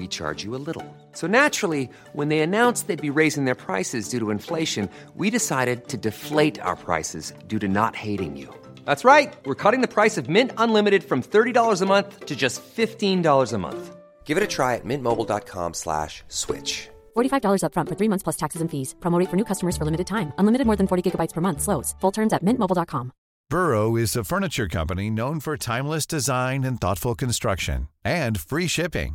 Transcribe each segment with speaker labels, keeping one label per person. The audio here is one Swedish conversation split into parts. Speaker 1: we charge you a little. So naturally, when they announced they'd be raising their prices due to inflation, we decided to deflate our prices due to not hating you. That's right. We're cutting the price of Mint Unlimited from $30 a month to just $15 a month. Give it a try at mintmobile.com slash switch.
Speaker 2: $45 upfront for three months plus taxes and fees. Promo rate for new customers for limited time. Unlimited more than 40 gigabytes per month. Slows. Full terms at mintmobile.com.
Speaker 3: Burrow is a furniture company known for timeless design and thoughtful construction and free shipping,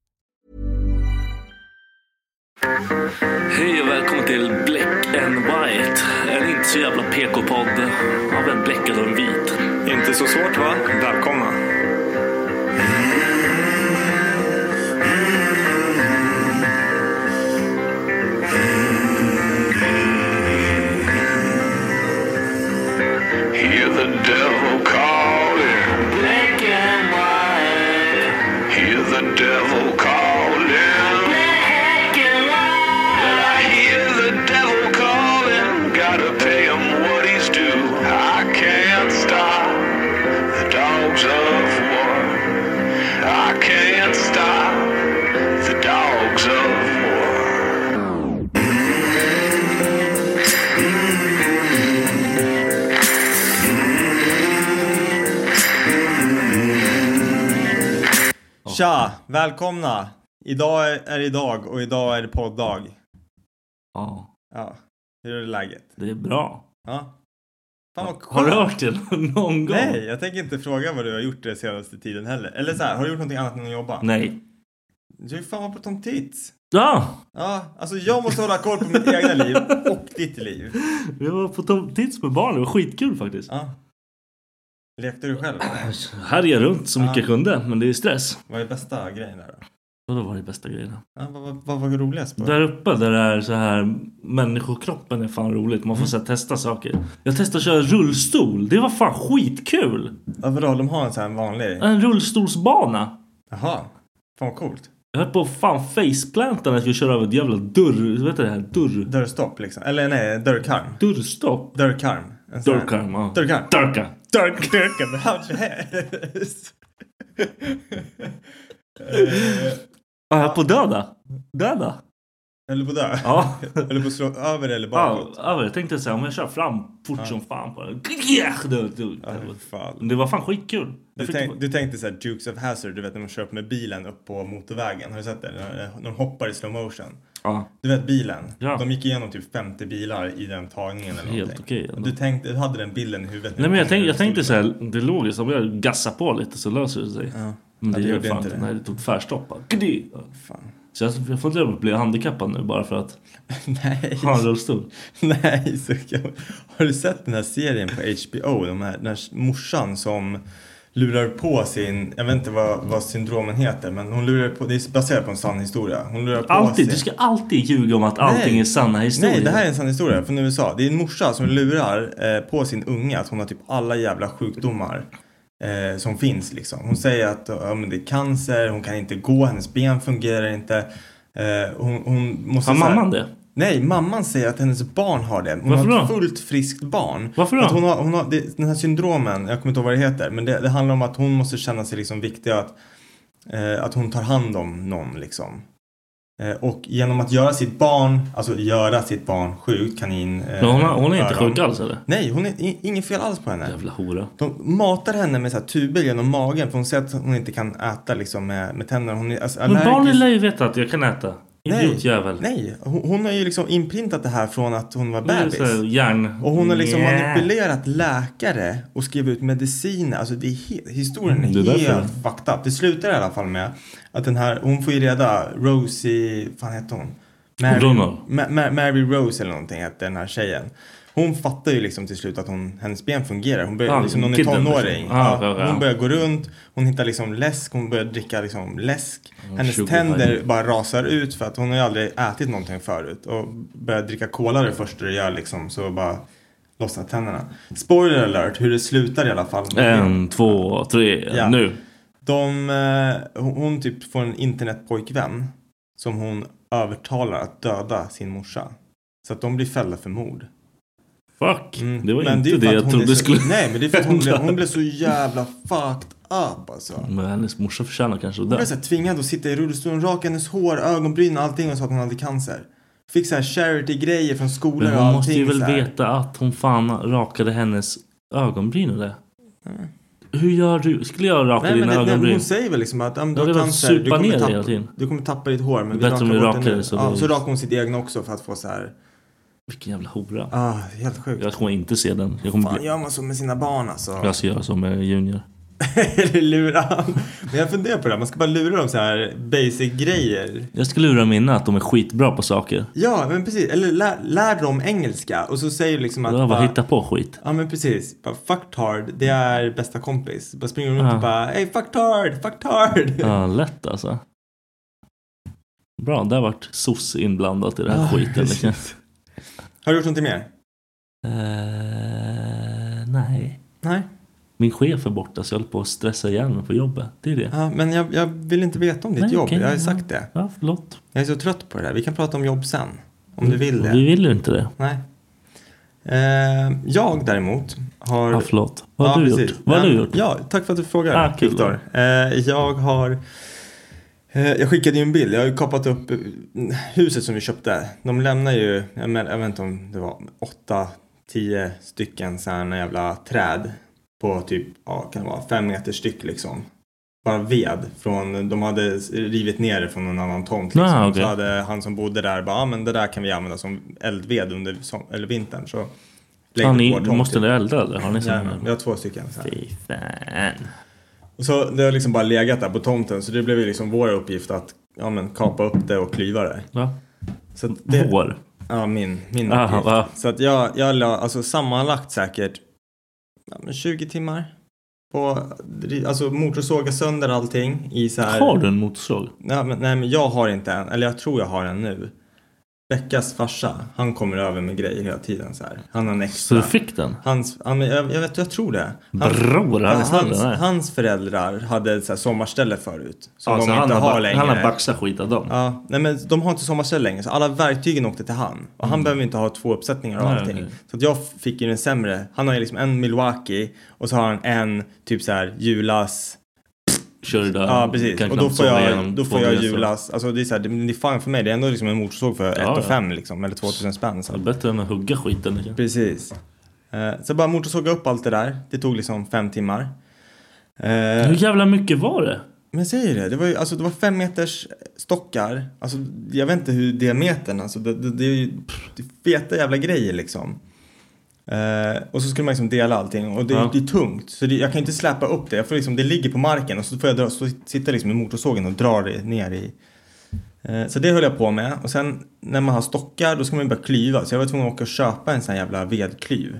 Speaker 4: Hej och välkommen till Black and White. En inte så jävla PK-podd av en bläckad och en vit.
Speaker 5: Inte så svårt va? Välkomna.
Speaker 6: Hear the devil calling. Black and white. Hear the devil calling. Black and white. I hear the devil calling. Gotta pay him what he's due. I can't stop the dogs of war. I can't stop the dogs of war.
Speaker 5: Tja! Välkomna! Idag är, är idag och idag är det poddag.
Speaker 4: Ja,
Speaker 5: Ja. Hur är läget?
Speaker 4: det är bra.
Speaker 5: Ja. Fan vad
Speaker 4: Har du
Speaker 5: skönt.
Speaker 4: hört det någon gång?
Speaker 5: Nej, jag tänker inte fråga vad du har gjort den senaste tiden heller. Eller så här, har du gjort någonting annat än att jobba?
Speaker 4: Nej.
Speaker 5: Du är fan vad på Tom Tits.
Speaker 4: Ja,
Speaker 5: Ja, alltså jag måste hålla koll på mitt egna liv och ditt liv.
Speaker 4: vi var på Tom Tits med barnen. Det var skitkul faktiskt.
Speaker 5: Ja. Lekte du själv?
Speaker 4: Härjade runt så mycket jag kunde, men det är stress.
Speaker 5: Vad är bästa grejen där då?
Speaker 4: Och det var det bästa grejerna.
Speaker 5: Ja, vad, vad, vad var roligast? På?
Speaker 4: Där uppe där det är så här människokroppen är fan roligt. Man får så här, testa saker. Jag testade att köra rullstol. Det var fan skitkul.
Speaker 5: Ja, vadå, de har en sån här vanlig?
Speaker 4: En rullstolsbana.
Speaker 5: Jaha. Fan vad coolt.
Speaker 4: Jag höll på att fan faceplanta när jag skulle köra över ett jävla dörr... Vet du det här? Dörr...
Speaker 5: Dörrstopp liksom. Eller nej, dörrkarm.
Speaker 4: Dörrstopp?
Speaker 5: Dörrkarm. En sån här-
Speaker 4: Dörrkarm, ja.
Speaker 5: Dörrkarm.
Speaker 4: Dörrkarm.
Speaker 5: Dark Durkan Hammerhead.
Speaker 4: Ja, jag höll på att döda. Döda?
Speaker 5: Eller på dö.
Speaker 4: Ja.
Speaker 5: Eller på slå över eller
Speaker 4: Ja,
Speaker 5: bakåt.
Speaker 4: över. Jag tänkte såhär, om jag kör fram fort som fan på den. Grr, dör, dör,
Speaker 5: Ja,
Speaker 4: dör.
Speaker 5: fan.
Speaker 4: Det var fan skitkul.
Speaker 5: Du,
Speaker 4: Jag fick
Speaker 5: tänk, du tänkte såhär Dukes of Hazard, du vet när man kör upp med bilen upp på motorvägen. Har du sett det? När när de hoppar i slow motion.
Speaker 4: Ja.
Speaker 5: Du vet bilen?
Speaker 4: Ja.
Speaker 5: De gick igenom typ 50 bilar i den tagningen eller
Speaker 4: Helt
Speaker 5: någonting.
Speaker 4: okej ändå.
Speaker 5: Och du, tänkte, du hade den bilden i huvudet.
Speaker 4: Nej men jag tänkte, jag tänkte såhär, det är logiskt. Om jag gassar på lite så löser det sig. Men
Speaker 5: Ja,
Speaker 4: det,
Speaker 5: det
Speaker 4: gjorde
Speaker 5: gjorde
Speaker 4: fan
Speaker 5: inte
Speaker 4: inte
Speaker 5: det.
Speaker 4: Nej, det tog tvärstopp. bara. Grr. Ja.
Speaker 5: Fan.
Speaker 4: Så jag, jag får inte bli handikappad nu bara för att
Speaker 5: Nej.
Speaker 4: ha en rullstol.
Speaker 5: Nej, så kan... har du sett den här serien på HBO? De här, den här morsan som lurar på sin, jag vet inte vad, vad syndromen heter, men hon lurar på, det är baserat på en sann historia. Hon lurar på
Speaker 4: Alltid,
Speaker 5: sin...
Speaker 4: du ska alltid ljuga om att allting är sanna historier.
Speaker 5: Nej, det här är en sann historia från USA. Det är en morsa som lurar eh, på sin unge att hon har typ alla jävla sjukdomar eh, som finns liksom. Hon säger att ja, men det är cancer, hon kan inte gå, hennes ben fungerar inte. Eh, hon, hon måste
Speaker 4: Har
Speaker 5: så här-
Speaker 4: mamman det?
Speaker 5: Nej, mamman säger att hennes barn har det. Hon
Speaker 4: Varför
Speaker 5: har ett
Speaker 4: då?
Speaker 5: fullt friskt barn.
Speaker 4: Varför då?
Speaker 5: Att hon har, hon har, det, den här syndromen, jag kommer inte ihåg vad det heter, men det, det handlar om att hon måste känna sig liksom viktig och att Eh, att hon tar hand om någon liksom. Eh, och genom att göra sitt barn, alltså göra sitt barn sjukt, kanin... eh,
Speaker 4: Men hon, har- hon är inte
Speaker 5: öron.
Speaker 4: sjuk alls eller?
Speaker 5: Nej, hon är i- inget fel alls på henne.
Speaker 4: Jävla hora.
Speaker 5: De matar henne med så här tuber genom magen för hon säger att hon inte kan äta liksom med, med tänderna. Hon är alltså,
Speaker 4: Men
Speaker 5: allergisk.
Speaker 4: barnen lär ju veta att jag kan äta.
Speaker 5: Nej,
Speaker 4: Idiotjävel.
Speaker 5: Nej, hon, hon har ju liksom inprintat det här från att hon var
Speaker 4: Hon är så här
Speaker 5: bebis.
Speaker 4: Järn.
Speaker 5: Och hon har liksom
Speaker 4: Yeah.
Speaker 5: manipulerat läkare och skrivit ut mediciner. Alltså det är he- historien är,
Speaker 4: Mm, Det är därför.
Speaker 5: helt fucked up. Det slutar i alla fall med att den här, hon får ju reda Rosie, fan heter hon?
Speaker 4: O'Donnell.
Speaker 5: Ma- Ma- Mary Rose eller någonting hette den här tjejen. Hon fattar ju liksom till slut att hon, hennes ben fungerar. Hon börjar,
Speaker 4: Ah,
Speaker 5: liksom, hon är
Speaker 4: kidden,
Speaker 5: tonåring.
Speaker 4: liksom. Ah,
Speaker 5: Ja,
Speaker 4: ja, ja.
Speaker 5: Hon börjar gå runt, hon hittar liksom läsk, hon börjar dricka liksom läsk. hennes
Speaker 4: sugar
Speaker 5: tänder
Speaker 4: high.
Speaker 5: bara rasar ut för att hon har ju aldrig ätit någonting förut. Och börjar dricka cola det första du gör liksom så bara lossnar tänderna. Spoiler alert, hur det slutar i alla fall.
Speaker 4: En, två, tre,
Speaker 5: Ja.
Speaker 4: nu.
Speaker 5: De, eh, hon, hon typ får en internetpojkvän som hon övertalar att döda sin morsa. Så att de blir fällda för mord.
Speaker 4: Fuck.
Speaker 5: Mm,
Speaker 4: Det var
Speaker 5: men
Speaker 4: inte
Speaker 5: är
Speaker 4: det,
Speaker 5: för att
Speaker 4: jag
Speaker 5: hon är
Speaker 4: trodde
Speaker 5: så,
Speaker 4: skulle
Speaker 5: Nej, men det är för att hon blev,
Speaker 4: hända.
Speaker 5: hon blev så jävla fucked up alltså. Hon
Speaker 4: Men hennes morsa förtjänar kanske att dö.
Speaker 5: blev så här tvingad att sitta i rullstolen, raka hennes hår, ögonbryn och allting och sa att hon hade cancer. Fick så här charity-grejer från skolor
Speaker 4: Men
Speaker 5: och
Speaker 4: hon
Speaker 5: allting.
Speaker 4: måste ju väl
Speaker 5: så här.
Speaker 4: veta att hon fan rakade hennes ögonbryn och det. Hur gör du? Skulle jag raka
Speaker 5: Mm. Nej, men
Speaker 4: dina
Speaker 5: det, nej, men
Speaker 4: ögonbryn?
Speaker 5: hon säger väl liksom att ah, men
Speaker 4: Ja,
Speaker 5: du har
Speaker 4: det är väl
Speaker 5: cancer,
Speaker 4: supa
Speaker 5: du kommer,
Speaker 4: ner det hela
Speaker 5: tappa,
Speaker 4: tiden.
Speaker 5: du kommer tappa ditt hår men vi
Speaker 4: Bättre
Speaker 5: rakar
Speaker 4: om vi
Speaker 5: bort
Speaker 4: rakar
Speaker 5: det nu.
Speaker 4: det så
Speaker 5: ja,
Speaker 4: blir-
Speaker 5: så rakar hon sitt egna också för att få så här,
Speaker 4: Vilken jävla hora.
Speaker 5: ah, helt sjukt.
Speaker 4: Jag kommer inte se den. Jag kommer
Speaker 5: Fan
Speaker 4: bli...
Speaker 5: gör man så med sina barn alltså?
Speaker 4: Jag ska göra som med Junior.
Speaker 5: Eller lura. Men jag funderar på det, här, man ska bara lura dem så här basic grejer.
Speaker 4: Jag ska lura mina att de är skitbra på saker.
Speaker 5: Ja, men precis. Eller lär, lär dem engelska och så säger du liksom att...
Speaker 4: Jag bara
Speaker 5: bara-
Speaker 4: hitta på skit.
Speaker 5: Ja, men precis. Bara, fucktard, det är bästa kompis. Bara springer runt och bara, hey fucktard, fucktard.
Speaker 4: Ja, lätt alltså. Bra, där vart SOS inblandat i den här
Speaker 5: Ja,
Speaker 4: skiten.
Speaker 5: precis.
Speaker 4: Liksom.
Speaker 5: Har du gjort någonting mer?
Speaker 4: Eh, nej.
Speaker 5: Nej.
Speaker 4: Min chef är borta så jag håller på att stressa ihjäl mig på jobbet. Det är det.
Speaker 5: Ja, men jag, jag vill inte veta om ditt
Speaker 4: Nej,
Speaker 5: jobb.
Speaker 4: okej,
Speaker 5: jag har ju
Speaker 4: ja.
Speaker 5: sagt det.
Speaker 4: Ja, förlåt.
Speaker 5: Jag är så trött på det där. Vi kan prata om jobb sen. Om du vill det.
Speaker 4: Mm. Vi vill ju inte det.
Speaker 5: Nej. Eh, jag däremot har...
Speaker 4: Ja, förlåt. Vad har
Speaker 5: Ja,
Speaker 4: du
Speaker 5: precis.
Speaker 4: gjort? Vad har
Speaker 5: Nej,
Speaker 4: du gjort?
Speaker 5: Ja, tack för att du frågar,
Speaker 4: Ah, kul.
Speaker 5: Viktor. Eh, jag har... Eh, jag skickade ju en bild. Jag har ju kapat upp eh, huset som vi köpte. De lämnar ju, jag, men, jag vet inte om det var åtta, tio stycken sådana jävla träd på typ, ja, kan det vara fem meter styck liksom. Bara ved från, de hade rivit ner det från någon annan tomt. Liksom.
Speaker 4: Ah, okej.
Speaker 5: Så hade han som bodde där bara, ah, men det där kan vi använda som eldved under som, eller vintern. Så lägg
Speaker 4: Har
Speaker 5: det på
Speaker 4: Ah, ni,
Speaker 5: vår tomt,
Speaker 4: måste
Speaker 5: typ.
Speaker 4: ni elda eller? Har ni sån
Speaker 5: Jajamän, vi
Speaker 4: här?
Speaker 5: har två stycken. Så här.
Speaker 4: Fy fan.
Speaker 5: Och så det har liksom bara legat där på tomten så det blev ju liksom vår uppgift att ja, men, kapa upp det och klyva det.
Speaker 4: Va?
Speaker 5: Så att det,
Speaker 4: Vår.
Speaker 5: Ja, min, min
Speaker 4: Aha,
Speaker 5: uppgift.
Speaker 4: va?
Speaker 5: Så att jag, jag la alltså, sammanlagt säkert ja, men 20 timmar. På, alltså motorsåga sönder allting i så här.
Speaker 4: Har du en motorsåg?
Speaker 5: Nej men, nej men jag har inte en, eller jag tror jag har en nu. Beckas farsa, han kommer över med grejer hela tiden så här. Han har en
Speaker 4: Så
Speaker 5: extra.
Speaker 4: du fick den?
Speaker 5: Hans, ja, men jag, jag, vet, jag tror det. Han-
Speaker 4: Bror, han är snäll
Speaker 5: hans,
Speaker 4: den här.
Speaker 5: hans föräldrar hade ett så här sommarställe förut. Som
Speaker 4: Alltså,
Speaker 5: de
Speaker 4: han,
Speaker 5: inte
Speaker 4: har
Speaker 5: har
Speaker 4: ba-
Speaker 5: längre.
Speaker 4: han har baxat skit av dem.
Speaker 5: Ja, nej men de har inte sommarställe längre så alla verktygen åkte till han. Och han behöver inte ha två uppsättningar och
Speaker 4: Mm. Nej,
Speaker 5: allting.
Speaker 4: okej.
Speaker 5: Så att jag fick ju den sämre. Han har ju liksom en Milwaukee och så har han en typ så här Julas.
Speaker 4: Kör det där.
Speaker 5: Ja, precis.
Speaker 4: Kan
Speaker 5: Och då
Speaker 4: knappt
Speaker 5: får
Speaker 4: sova
Speaker 5: jag,
Speaker 4: igenom
Speaker 5: då
Speaker 4: två
Speaker 5: får jag
Speaker 4: resor.
Speaker 5: Julas. Alltså det är så här, det, det är fan för mig. Det är ändå liksom en motorsåg för 1
Speaker 4: Ja,
Speaker 5: och
Speaker 4: ja.
Speaker 5: 5 liksom. Eller 2000 spänn. Så.
Speaker 4: Ja, Bättre än att hugga skiten. liksom.
Speaker 5: Precis. Eh, Så bara motorsåga upp allt det där. Det tog liksom fem timmar. Eh,
Speaker 4: Hur jävla mycket var det?
Speaker 5: Men jag säger det, det var ju alltså det var fem meters stockar. Alltså jag vet inte hur diametern, alltså det, det, det är ju pff, det är feta jävla grejer liksom. Eh, och så skulle man liksom dela allting och det,
Speaker 4: Ja.
Speaker 5: det är tungt. Så det, jag kan ju inte släpa upp det. Jag får liksom, det ligger på marken och så får jag dra, så sitta liksom i motorsågen och dra det ner i. Eh, så det höll jag på med. Och sen när man har stockar då ska man ju börja klyva. Så jag var tvungen att åka och köpa en sån här jävla vedklyv.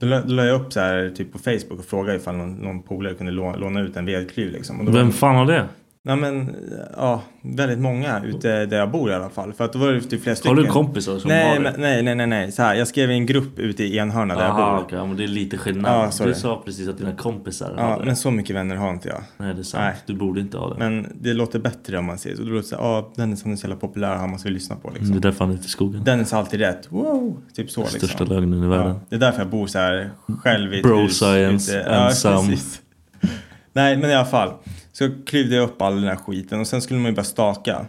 Speaker 5: Då la, då la jag upp så här typ på Facebook och frågade ifall någon, någon polare kunde låna, låna ut en vedklyv liksom. Och då var
Speaker 4: Vem fan har det?
Speaker 5: Nej men, ja, väldigt många ute där jag bor i alla fall. För att då var det typ flera
Speaker 4: Har
Speaker 5: stycken.
Speaker 4: du kompisar som har
Speaker 5: nej,
Speaker 4: det?
Speaker 5: men, nej, nej, nej, nej. Så här, jag skrev i en grupp ute i Enhörna där jag
Speaker 4: Aha,
Speaker 5: bor.
Speaker 4: Ah, okej, ja, men det är lite skillnad.
Speaker 5: Ja, sorry.
Speaker 4: du sa precis att dina kompisar
Speaker 5: Ja,
Speaker 4: hade
Speaker 5: men
Speaker 4: det.
Speaker 5: så mycket vänner har inte jag.
Speaker 4: Nej, det är sant.
Speaker 5: Nej.
Speaker 4: Du borde inte ha det.
Speaker 5: Men det låter bättre om man säger så. Då låter det såhär, ja, Dennis han är så jävla populär, han måste vi lyssna på liksom.
Speaker 4: det är därför han är ute i skogen.
Speaker 5: Dennis har alltid rätt, wow! Typ så liksom.
Speaker 4: Största lögnen i världen.
Speaker 5: Ja, det är därför jag bor så här själv i ett
Speaker 4: Bro
Speaker 5: hus.
Speaker 4: science,
Speaker 5: ute. Ja,
Speaker 4: ensam.
Speaker 5: precis. Nej, men i alla fall. Så klyvde jag upp all den här skiten och sen skulle man ju bara staka.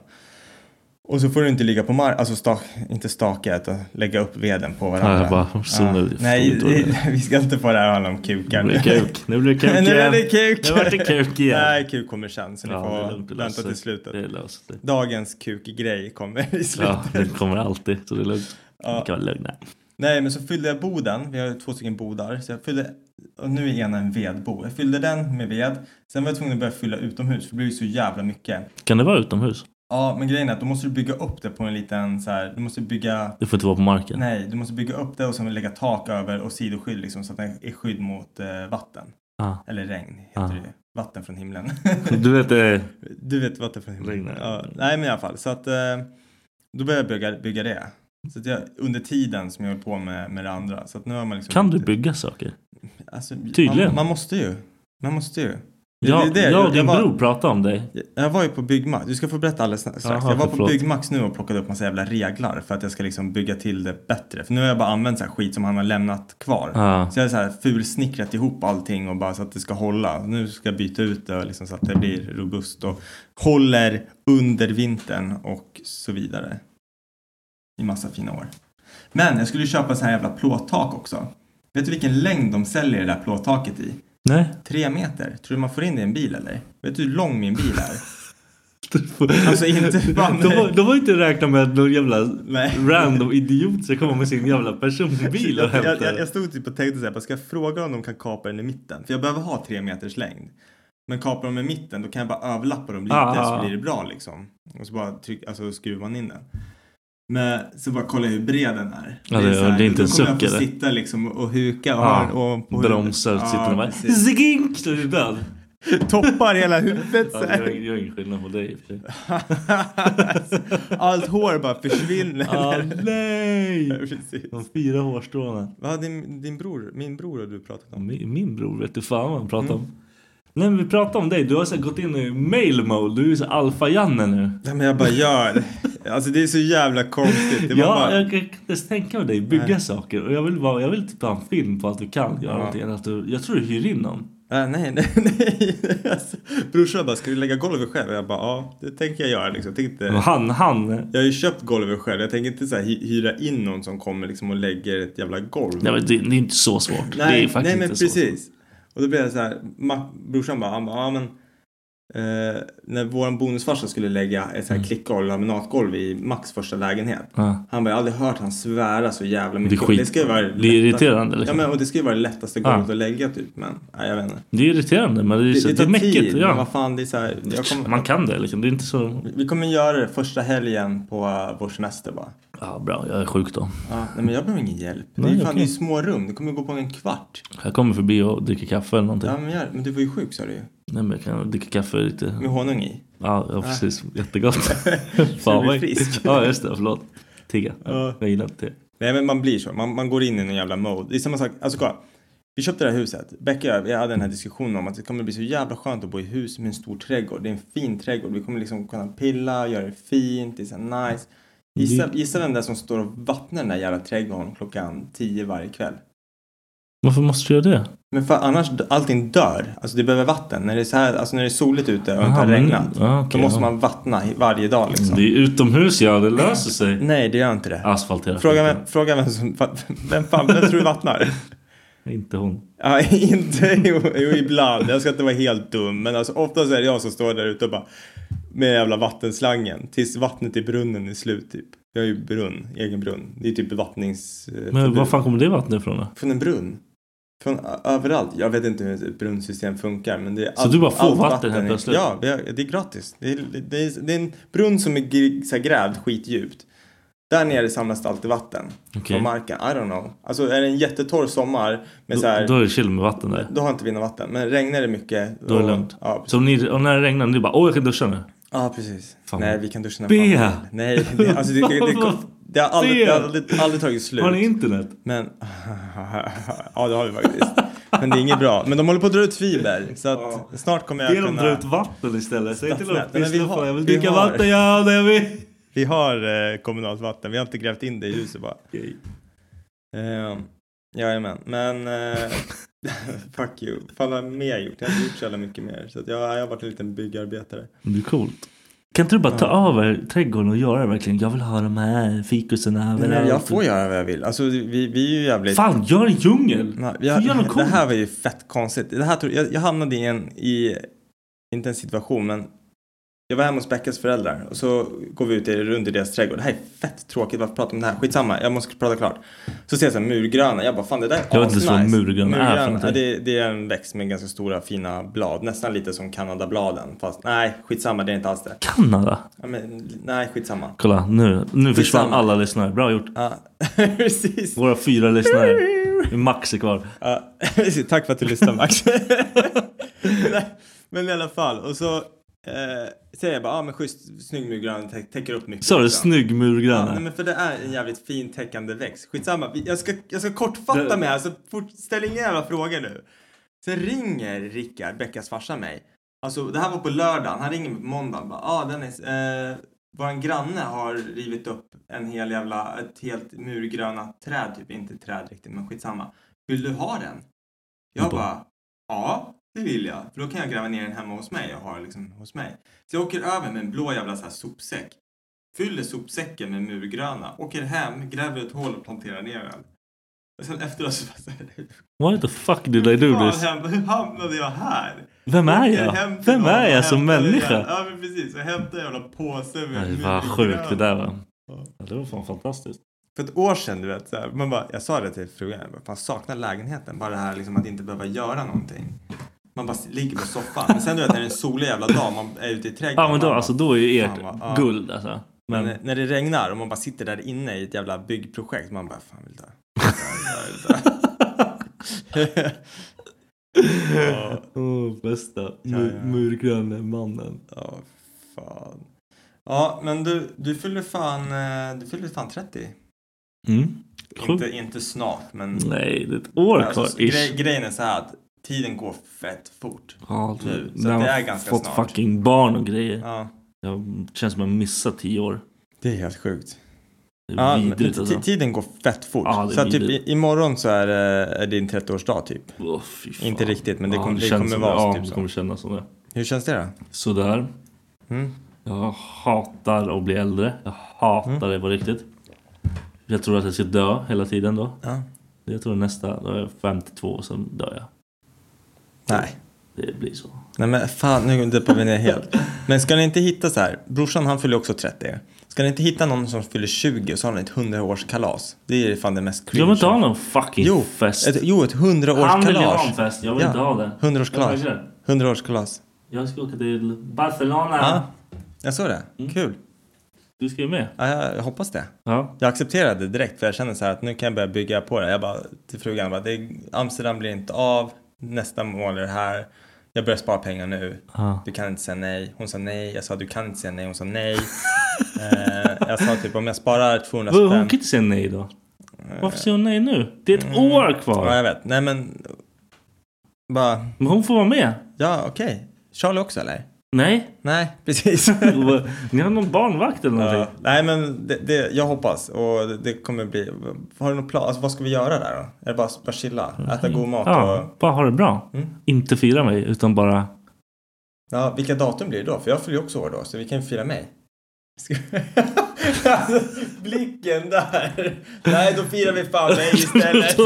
Speaker 5: Och så får du inte ligga på marken, alltså stak, inte staka, utan lägga upp veden på varandra.
Speaker 4: Ja, jag bara, så nu-
Speaker 5: Nej,
Speaker 4: då-
Speaker 5: vi- vi ska inte få det här att handla om kukar
Speaker 4: Nu blir det kuk. Nu blir det kuk
Speaker 5: nu
Speaker 4: igen.
Speaker 5: blir det kuk.
Speaker 4: Nu vart det kuk igen.
Speaker 5: Nej, kuk kommer sen, så ni
Speaker 4: Ja, det är lugnt,
Speaker 5: får
Speaker 4: det
Speaker 5: vänta
Speaker 4: löser
Speaker 5: till
Speaker 4: sig. Det
Speaker 5: slutet.
Speaker 4: löser sig.
Speaker 5: Dagens kukgrej kommer i slutet.
Speaker 4: Ja, det kommer alltid. Så det är lugnt. Ni kan vara lugna.
Speaker 5: Nej, men så fyllde jag boden. Vi har två stycken bodar. Så jag fyllde, och nu är ena en vedbod. Jag fyllde den med ved. Sen var jag tvungen att börja fylla utomhus för det blev ju så jävla mycket.
Speaker 4: Kan det vara utomhus?
Speaker 5: Ja, men grejen är att då måste du bygga upp det på en liten så här. Du måste bygga.
Speaker 4: Det får inte vara på marken.
Speaker 5: Nej, du måste bygga upp det och sen lägga tak över och sidoskydd liksom så att det är skydd mot eh, vatten.
Speaker 4: Ah.
Speaker 5: Eller regn heter
Speaker 4: Ah.
Speaker 5: det. Vatten från himlen.
Speaker 4: Du vet, eh,
Speaker 5: Du vet vatten från himlen.
Speaker 4: Regnar.
Speaker 5: Ja, nej men i alla fall så att eh, då började jag bygga, bygga det. Så att jag, under tiden som jag höll på med, med det andra. Så att nu har man liksom
Speaker 4: kan du bygga saker?
Speaker 5: Alltså,
Speaker 4: Tydligen.
Speaker 5: Man, man måste ju. Man måste ju. Det-
Speaker 4: Jag,
Speaker 5: det är det.
Speaker 4: jag och din
Speaker 5: var,
Speaker 4: bror pratade om dig.
Speaker 5: Jag var ju på Byggmax. Du ska få berätta alldeles strax.
Speaker 4: Jaha,
Speaker 5: jag var på
Speaker 4: förlåt.
Speaker 5: Byggmax nu och plockade upp massa jävla reglar för att jag ska liksom bygga till det bättre. För nu har jag bara använt så här skit som han har lämnat kvar.
Speaker 4: Ja.
Speaker 5: Så jag har så här fulsnickrat ihop allting och bara så att det ska hålla. Nu ska jag byta ut det och liksom så att det blir robust och håller under vintern och så vidare. I massa fina år. Men jag skulle ju köpa så här jävla plåttak också. Vet du vilken längd de säljer det där plåttaket i?
Speaker 4: Nej.
Speaker 5: Tre meter? Tror du man får in det i en bil eller? Vet du hur lång min bil är? Alltså inte fan.
Speaker 4: De, har- de har inte räknat med att någon jävla
Speaker 5: Nej.
Speaker 4: random idiot ska komma med sin jävla personbil och
Speaker 5: Jag,
Speaker 4: hämta
Speaker 5: jag, jag,
Speaker 4: den.
Speaker 5: jag stod typ och tänkte såhär, ska jag fråga om de kan kapa den i mitten? För jag behöver ha tre meters längd. Men kapar de i mitten då kan jag bara överlappa dem lite
Speaker 4: Ah.
Speaker 5: så blir det bra liksom. Och så bara tryck, alltså, skruvar man in den. Men så bara kolla hur bred den är.
Speaker 4: Ja, det-
Speaker 5: så här,
Speaker 4: det är inte
Speaker 5: då
Speaker 4: en
Speaker 5: kommer jag
Speaker 4: suck,
Speaker 5: få
Speaker 4: eller?
Speaker 5: sitta liksom och huka och,
Speaker 4: Ja,
Speaker 5: och på
Speaker 4: Bromsar och
Speaker 5: huvudet.
Speaker 4: sitter och bara
Speaker 5: precis.
Speaker 4: zigink så är du död.
Speaker 5: Toppar hela huvudet
Speaker 4: Ja,
Speaker 5: så
Speaker 4: det
Speaker 5: här.
Speaker 4: gör det gör ingen skillnad på dig i och för sig.
Speaker 5: Allt hår bara försvinner.
Speaker 4: Ah, nej!
Speaker 5: Precis.
Speaker 4: De fyra hårstråna.
Speaker 5: Vad hade din, din bror, min bror och du pratat om?
Speaker 4: Min, min bror vet du fan vad han
Speaker 5: Mm.
Speaker 4: pratar om. Nej men vi pratar om dig. Du har så här gått in i mail mode. Du är så alfa-Janne nu.
Speaker 5: Nej men jag bara gör det. Alltså det är så jävla konstigt. Det var
Speaker 4: ja,
Speaker 5: bara...
Speaker 4: jag kan inte ens tänka mig dig bygga saker. Och jag vill, bara, jag vill typ ha en film på att du kan göra någonting. än Att du, jag tror du hyr in någon.
Speaker 5: Äh, nej, nej, nej. Alltså, brorsan bara, ska du lägga golvet själv? Och jag bara, ja det tänker jag göra liksom. Jag, tänkte,
Speaker 4: Och Han, han.
Speaker 5: jag har ju köpt golvet själv. Jag tänker inte så här, hy- hyra in någon som kommer liksom och lägger ett jävla golv.
Speaker 4: Nej, men det, det är inte så svårt.
Speaker 5: Nej,
Speaker 4: det är faktiskt
Speaker 5: nej men
Speaker 4: inte så svårt.
Speaker 5: precis. Och då blev jag så här, ma- brorsan bara, han bara, ja men eh, när våran bonusfarsa skulle lägga ett så här klickgolv, laminatgolv i Max första lägenhet.
Speaker 4: Mm. Ja.
Speaker 5: Han bara, jag har aldrig hört han svära så jävla mycket.
Speaker 4: skit-
Speaker 5: ska ju vara
Speaker 4: det är
Speaker 5: lätta-
Speaker 4: irriterande, liksom.
Speaker 5: Ja men och det ska ju vara det lättaste
Speaker 4: Ja.
Speaker 5: golvet att lägga typ. Men, nej jag vet inte.
Speaker 4: Det är irriterande men det är, så- det,
Speaker 5: tar
Speaker 4: är mäckigt.
Speaker 5: tid. men
Speaker 4: Ja.
Speaker 5: Vad fan, det är så här, jag kommer,
Speaker 4: Man kan det liksom. Det är inte så...
Speaker 5: Vi kommer göra det första helgen på uh, vår semester bara.
Speaker 4: Ja, bra. Jag är sjuk då.
Speaker 5: Ja, nej men jag behöver ingen hjälp. Det är
Speaker 4: Nej,
Speaker 5: ju fan,
Speaker 4: okej.
Speaker 5: det är ju små rum. Det kommer gå på en kvart.
Speaker 4: Jag kommer förbi och dricker kaffe eller någonting.
Speaker 5: Ja men, gör, men du var ju sjuk sa du ju.
Speaker 4: Nej men jag kan dricka kaffe lite.
Speaker 5: Med honung i.
Speaker 4: Ja, ja precis. Jättegott.
Speaker 5: Så du
Speaker 4: Fan
Speaker 5: blir
Speaker 4: vad
Speaker 5: frisk.
Speaker 4: Ja just det, förlåt. Tigga. Jag gillar inte det.
Speaker 5: Nej men man blir så, man, man går in i någon jävla mode. Det är samma sak, alltså kolla. Vi köpte det här huset, Becka och jag, vi hade den här diskussionen om att det kommer bli så jävla skönt att bo i hus med en stor trädgård. Det är en fin trädgård, vi kommer liksom kunna pilla, göra det fint, det är så här nice. Gissa,
Speaker 4: Mm.
Speaker 5: gissa vem det är som står och vattnar den där jävla trädgården klockan tio varje kväll.
Speaker 4: Varför måste du göra det?
Speaker 5: Men för annars, d- allting dör. Alltså det behöver vatten. När det är, så här, alltså när det är soligt ute och inte
Speaker 4: Aha,
Speaker 5: har
Speaker 4: men-
Speaker 5: regnat.
Speaker 4: ja, okej,
Speaker 5: då måste
Speaker 4: ja. Mm,
Speaker 5: man vattna i- varje dag liksom.
Speaker 4: Det Alltså, är utomhus ja, det löser sig.
Speaker 5: Nej, det gör inte det.
Speaker 4: Asfaltera.
Speaker 5: Fråga,
Speaker 4: skiten.
Speaker 5: vem, fråga vem som... Vem fan, vem tror du vattnar?
Speaker 4: Inte hon.
Speaker 5: Ja, inte jo, jo, ibland. Jag ska inte vara helt dum. Men alltså, oftast är det jag som står där ute och bara med jävla vattenslangen tills vattnet i brunnen är slut typ. Jag har ju brunn, egen brunn. Det är typ bevattnings... eh,
Speaker 4: Men
Speaker 5: förbud.
Speaker 4: var fan kommer det vattnet ifrån då?
Speaker 5: Från en brunn. Från ö- överallt. Jag vet inte hur ett brunnsystem funkar men det är
Speaker 4: Så du bara får vatten helt
Speaker 5: är-
Speaker 4: plötsligt?
Speaker 5: Ja, vi har- det är gratis. Det är, det är, det är en brunn som är gr- så här grävd skitdjupt. Där nere samlas det alltid vatten.
Speaker 4: Okej.
Speaker 5: Från marken. I don't know. Alltså är det en jättetorr sommar med så här
Speaker 4: Då är det chill med vatten där.
Speaker 5: då har inte vi något vatten. Men regnar det mycket.
Speaker 4: Då är det
Speaker 5: och-
Speaker 4: lugnt.
Speaker 5: Ja, precis.
Speaker 4: Så om ni, och när det regnar, ni bara åh jag kan duscha nu.
Speaker 5: Ja, precis.
Speaker 4: Fan.
Speaker 5: Nej, vi kan duscha när
Speaker 4: Bea!
Speaker 5: fan vi vill. Nej, det, alltså det, det, det, det har aldrig, det har aldrig, aldrig tagit slut.
Speaker 4: Har ni internet?
Speaker 5: Men, ja det har vi faktiskt. Men det är inget bra. Men de håller på att dra ut fiber. Så att snart kommer jag
Speaker 4: Ge dem dra
Speaker 5: kunna...
Speaker 4: ut vatten istället. Säg till dem
Speaker 5: Stadsnät. Nej, men vi
Speaker 4: "Pissluffar,
Speaker 5: har-
Speaker 4: jag vill
Speaker 5: vi
Speaker 4: dricka
Speaker 5: har-
Speaker 4: vatten ja, det vill.
Speaker 5: Vi har eh, kommunalt vatten. Vi har inte grävt in det i huset bara.
Speaker 4: Okej.
Speaker 5: Eh, jajamän. Ehm, Men... Eh, Fuck you. Fan vad mer jag gjort. Jag har inte gjort så jävla mycket mer. Så att jag, jag har varit en liten byggarbetare.
Speaker 4: Det är coolt. Kan inte du bara ta över trädgården och göra det verkligen? Jag vill ha de här fikuserna
Speaker 5: Men
Speaker 4: överallt.
Speaker 5: jag får göra vad jag vill. Alltså vi, vi är ju jävligt...
Speaker 4: Fan, gör en djungel!
Speaker 5: Nej,
Speaker 4: Får göra något
Speaker 5: jag, det
Speaker 4: coolt.
Speaker 5: här var ju fett konstigt. Det här, tror- jag, jag hamnade i en, i, inte en situation, men jag var hemma hos Beckas föräldrar och så går vi ut i- runt i deras trädgård. Det här är fett tråkigt, varför pratar vi om det här? Skitsamma, jag måste prata klart. Så ser jag så här murgröna, jag bara fan det där är
Speaker 4: Jag vet inte vad
Speaker 5: asnice.
Speaker 4: murgröna är för
Speaker 5: ja,
Speaker 4: någonting.
Speaker 5: det, det är en växt med ganska stora fina blad, nästan lite som kanadabladen. Fast nej, skitsamma, det är inte alls det.
Speaker 4: Kanada!
Speaker 5: Ja, men, nej, skitsamma.
Speaker 4: Kolla, nu, nu försvann
Speaker 5: samma.
Speaker 4: alla lyssnare. Bra gjort.
Speaker 5: Ja, precis.
Speaker 4: Våra fyra lyssnare. Max är kvar.
Speaker 5: Ja, precis. tack för att du lyssnade Max. Nej, men i alla fall, och så eh, säger jag bara, ja ah, men schysst, snygg murgrön, tä- täcker upp mycket.
Speaker 4: Sa du
Speaker 5: liksom.
Speaker 4: snygg
Speaker 5: Ja, nej
Speaker 4: murgranne?
Speaker 5: men för det är en jävligt fin täckande växt. Skitsamma, vi- jag ska, jag ska kortfatta
Speaker 4: Det-
Speaker 5: mig här så fort, ställ inga jävla frågor nu. Sen ringer Rickard, Beckas farsa, mig. Alltså det här var på lördagen, han ringer mig på måndagen bara, ah, Dennis, eh, våran granne har rivit upp en hel jävla, ett helt murgröna träd, typ inte träd riktigt men skitsamma. Vill du ha den? Jag
Speaker 4: Bara-
Speaker 5: bara, ja det vill jag, för då kan jag gräva ner den hemma hos mig och ha den liksom hos mig. Så jag åker över med en blå jävla så här sopsäck fyller sopsäcken med murgröna, åker hem, gräver ett hål och planterar ner den. Och sen efteråt så bara så här,
Speaker 4: Why the fuck did I do
Speaker 5: "Fan,
Speaker 4: this?
Speaker 5: hem- hur hamnade jag här?
Speaker 4: Vem är
Speaker 5: Åker
Speaker 4: jag?
Speaker 5: hem till
Speaker 4: Vem
Speaker 5: någon
Speaker 4: är
Speaker 5: och
Speaker 4: jag som
Speaker 5: hämtar en
Speaker 4: människa?
Speaker 5: jävla- Ja men precis, och hämtar en jävla påse med
Speaker 4: Nej,
Speaker 5: murgröna.
Speaker 4: vad sjukt det där var. Ja, det var fan fantastiskt.
Speaker 5: För ett år sedan du vet, så här, man bara, jag sa det till frugan, jag bara, fan saknar lägenheten, bara det här liksom att inte behöva göra någonting. Man bara ligger på soffan, men sen du vet när det är en solig jävla dag, man är ute i trädgården.
Speaker 4: Ja men då,
Speaker 5: man bara,
Speaker 4: alltså, då är ju
Speaker 5: fan, vad-
Speaker 4: ert
Speaker 5: ja.
Speaker 4: guld alltså.
Speaker 5: Men
Speaker 4: Men
Speaker 5: när det regnar och man bara sitter där inne i ett jävla byggprojekt, man bara fan vill dö. Fan, vill dö. ja,
Speaker 4: Åh, bästa
Speaker 5: ja.
Speaker 4: mur, murgranne mannen.
Speaker 5: ja, fan. Ja, men du, du fyller fan, eh, du fyller fan 30.
Speaker 4: Mm. Sjukt.
Speaker 5: Inte, inte snart, men
Speaker 4: Nej, det är ett år kvar
Speaker 5: alltså, grej,
Speaker 4: ish.
Speaker 5: grejen är så här att tiden går fett fort.
Speaker 4: Ja,
Speaker 5: nu,
Speaker 4: nu.
Speaker 5: så
Speaker 4: När
Speaker 5: att det
Speaker 4: man
Speaker 5: är ganska
Speaker 4: fått
Speaker 5: snart.
Speaker 4: fucking barn och grejer.
Speaker 5: Ja,
Speaker 4: Jag känns som att jag missat tio år.
Speaker 5: det är helt sjukt.
Speaker 4: Det är
Speaker 5: Ja, men
Speaker 4: vidrigt
Speaker 5: t-
Speaker 4: alltså.
Speaker 5: Tiden går fett fort.
Speaker 4: Ja, det är
Speaker 5: så att typ
Speaker 4: vidrigt.
Speaker 5: i, imorgon så är, det- är din 30-årsdag typ.
Speaker 4: Åh, fy fan.
Speaker 5: Inte riktigt, men det kommer- det
Speaker 4: känns
Speaker 5: kommer
Speaker 4: som
Speaker 5: vara
Speaker 4: Ja,
Speaker 5: typ
Speaker 4: det
Speaker 5: så.
Speaker 4: kommer kännas som det.
Speaker 5: Hur känns det då?
Speaker 4: Sådär.
Speaker 5: Mm.
Speaker 4: Jag hatar att bli äldre. Jag hatar
Speaker 5: Mm.
Speaker 4: det på riktigt. Jag tror att jag ska dö hela tiden då.
Speaker 5: Ja.
Speaker 4: Jag tror nästa, då är jag 52 och sen dör jag.
Speaker 5: Nej.
Speaker 4: Det blir så.
Speaker 5: Nej men fan, nu deppar vi ner helt. Men ska ni inte hitta så här, brorsan han fyller också 30. Ska ni inte hitta någon som fyller 20 och så har ni ett 100-årskalas? Det är fan det mest cringe.
Speaker 4: Jag vill inte ha någon fucking
Speaker 5: jo,
Speaker 4: fest.
Speaker 5: Ett, jo, ett 100-årskalas.
Speaker 4: Han vill ju ha en fest, jag vill
Speaker 5: Ja,
Speaker 4: inte ha det.
Speaker 5: 100-årskalas.
Speaker 4: Jag vägrar.
Speaker 5: 100-årskalas.
Speaker 4: Jag ska åka till Barcelona.
Speaker 5: Ja, jag såg det.
Speaker 4: Mm.
Speaker 5: Kul.
Speaker 4: Du ska ju med.
Speaker 5: Ja, jag, jag hoppas det.
Speaker 4: Ja.
Speaker 5: Jag accepterade direkt för jag kände så här att nu kan jag börja bygga på det. Jag bara till frugan, bara, det, Amsterdam blir inte av. Nästa mål är det här. Jag börjar spara pengar nu.
Speaker 4: Ja.
Speaker 5: Du kan inte säga nej. Hon sa nej. Jag sa du kan inte säga nej. Hon sa nej. eh, jag sa typ om jag sparar 200
Speaker 4: Hon kan
Speaker 5: spänn.
Speaker 4: inte säga nej då. Varför säger hon nej nu? Det är ett år
Speaker 5: Mm. Ja,
Speaker 4: kvar.
Speaker 5: jag vet. Nej men. Bara,
Speaker 4: Men hon får vara med.
Speaker 5: ja okej. Charlie också eller?
Speaker 4: Nej.
Speaker 5: Nej, precis.
Speaker 4: Ni har någon barnvakt eller
Speaker 5: Ja,
Speaker 4: någonting?
Speaker 5: nej men det, det, jag hoppas och det, det kommer bli. Har du någon plan? Alltså, vad ska vi göra där då? Är det bara, bara chilla? Äta god mat? Och,
Speaker 4: Mm. Ja, bara ha det bra.
Speaker 5: Mm.
Speaker 4: Inte fira mig utan bara...
Speaker 5: ja, vilka datum blir det då? För jag fyller ju också år då så vi kan ju fira mig. Ska- alltså, blicken där. Nej, då firar vi fan mig istället.
Speaker 4: då,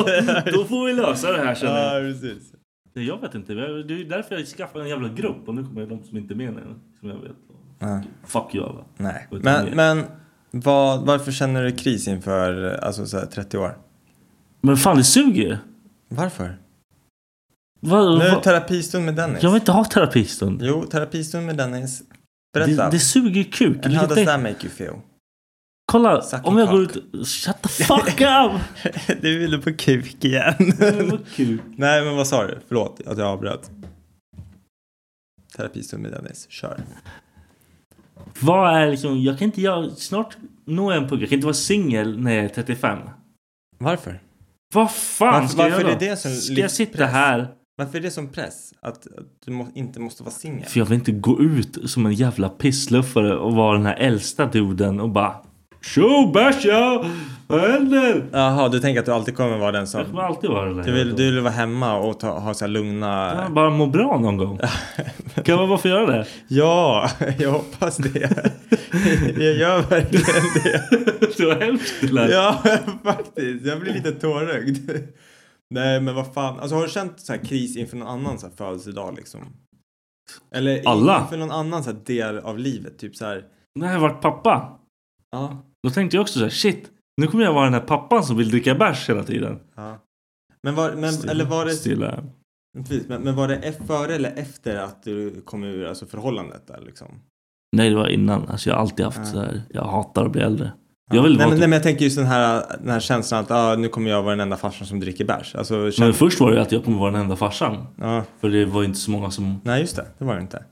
Speaker 4: då får vi lösa det här känner jag.
Speaker 5: Ja, precis.
Speaker 4: Nej, Jag vet inte. Jag- Det är ju därför jag skaffade en jävla grupp. Och nu kommer de som inte är med nu. Som jag vet.
Speaker 5: Ja.
Speaker 4: Fuck you alla.
Speaker 5: Nej,
Speaker 4: Utan
Speaker 5: men,
Speaker 4: mer.
Speaker 5: men vad, varför känner du kris inför alltså, så här, 30 år?
Speaker 4: Men fan det suger ju.
Speaker 5: Varför?
Speaker 4: Vad-
Speaker 5: Nu är det
Speaker 4: vad-
Speaker 5: terapistund med Dennis.
Speaker 4: Jag vill inte ha terapistund.
Speaker 5: Jo, terapistund med Dennis. Berätta.
Speaker 4: Det, det suger kuk.
Speaker 5: And how
Speaker 4: Lite-
Speaker 5: does that make you feel?
Speaker 4: Kolla,
Speaker 5: Suck
Speaker 4: om jag
Speaker 5: cock.
Speaker 4: går ut... Shut the fuck up!
Speaker 5: du ville på kuk igen.
Speaker 4: Vad kul.
Speaker 5: Nej, men vad sa du? Förlåt att jag avbröt. Terapistund med Dennis. Kör.
Speaker 4: Vad är liksom... Jag kan inte... Jag, snart nå en punkt. Jag kan inte vara singel när jag är 35.
Speaker 5: Varför?
Speaker 4: Vad fan
Speaker 5: Varför-
Speaker 4: ska jag
Speaker 5: varför
Speaker 4: göra?
Speaker 5: är det som
Speaker 4: ska jag
Speaker 5: livspress?
Speaker 4: sitta här?
Speaker 5: Varför är det som press? Att, att du må, inte måste vara singel?
Speaker 4: För jag vill inte gå ut som en jävla pissluffare och vara den här äldsta duden och bara Tjo bärsa! Vad händer?
Speaker 5: Jaha, du tänker att du alltid kommer vara den som...
Speaker 4: Jag kommer alltid vara det där.
Speaker 5: Du vill, du vill vara hemma och ta, ha så här lugna...
Speaker 4: Jag bara må bra någon gång. kan man bara få göra det?
Speaker 5: Ja, jag hoppas det. jag gör verkligen det.
Speaker 4: Det var hemskt det lät.
Speaker 5: Ja, faktiskt. Jag blir lite tårögd. Nej, men vad fan. Alltså har du känt så här kris inför någon annan så här födelsedag liksom? Eller
Speaker 4: Alla.
Speaker 5: inför någon annan så här del av livet? Typ så här...
Speaker 4: När jag vart pappa,
Speaker 5: Ja.
Speaker 4: då tänkte jag också så här, shit. Nu kommer jag vara den här pappan som vill dricka bärs hela tiden.
Speaker 5: ja. Men var, men,
Speaker 4: Stilla-
Speaker 5: eller var det...
Speaker 4: Stilla.
Speaker 5: Precis, men, men var det e- före eller efter att du kom ur alltså förhållandet där liksom?
Speaker 4: Nej, det var innan. Alltså jag har alltid haft
Speaker 5: Ja.
Speaker 4: så här, jag hatar att bli äldre. Jag vill
Speaker 5: nej,
Speaker 4: vara
Speaker 5: men,
Speaker 4: typ-
Speaker 5: nej men jag tänker just den här, den här känslan att ah, nu kommer jag vara den enda farsan som dricker bärs. Alltså,
Speaker 4: Men
Speaker 5: känn...
Speaker 4: först var det ju att jag kommer vara den enda farsan.
Speaker 5: ja,
Speaker 4: För det var ju inte så många som...
Speaker 5: nej just det, det var det inte.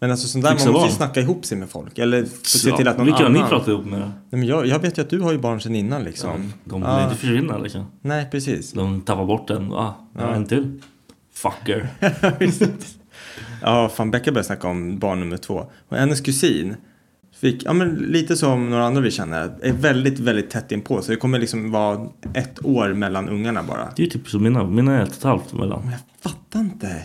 Speaker 5: Men alltså sånt där,
Speaker 4: Fixa
Speaker 5: man måste ju
Speaker 4: barn.
Speaker 5: snacka ihop sig med folk. Eller se till att någon
Speaker 4: Vilka har
Speaker 5: annan...
Speaker 4: ni pratat ihop med då?
Speaker 5: Nej, men jag, jag vet ju att du har ju barn sedan innan liksom.
Speaker 4: De vill
Speaker 5: Ja.
Speaker 4: inte försvinna liksom.
Speaker 5: Nej, precis.
Speaker 4: De tappar bort den. Ah, jag har en till. Fucker.
Speaker 5: Ja, fan Becka började snacka om barn nummer två. Och hennes kusin fick, ja men lite som några andra vi känner, är väldigt, väldigt tätt inpå. Så det kommer liksom vara ett år mellan ungarna bara.
Speaker 4: Det är ju typ som mina. Mina är ett och ett halvt
Speaker 5: Men
Speaker 4: mellan.
Speaker 5: jag fattar inte.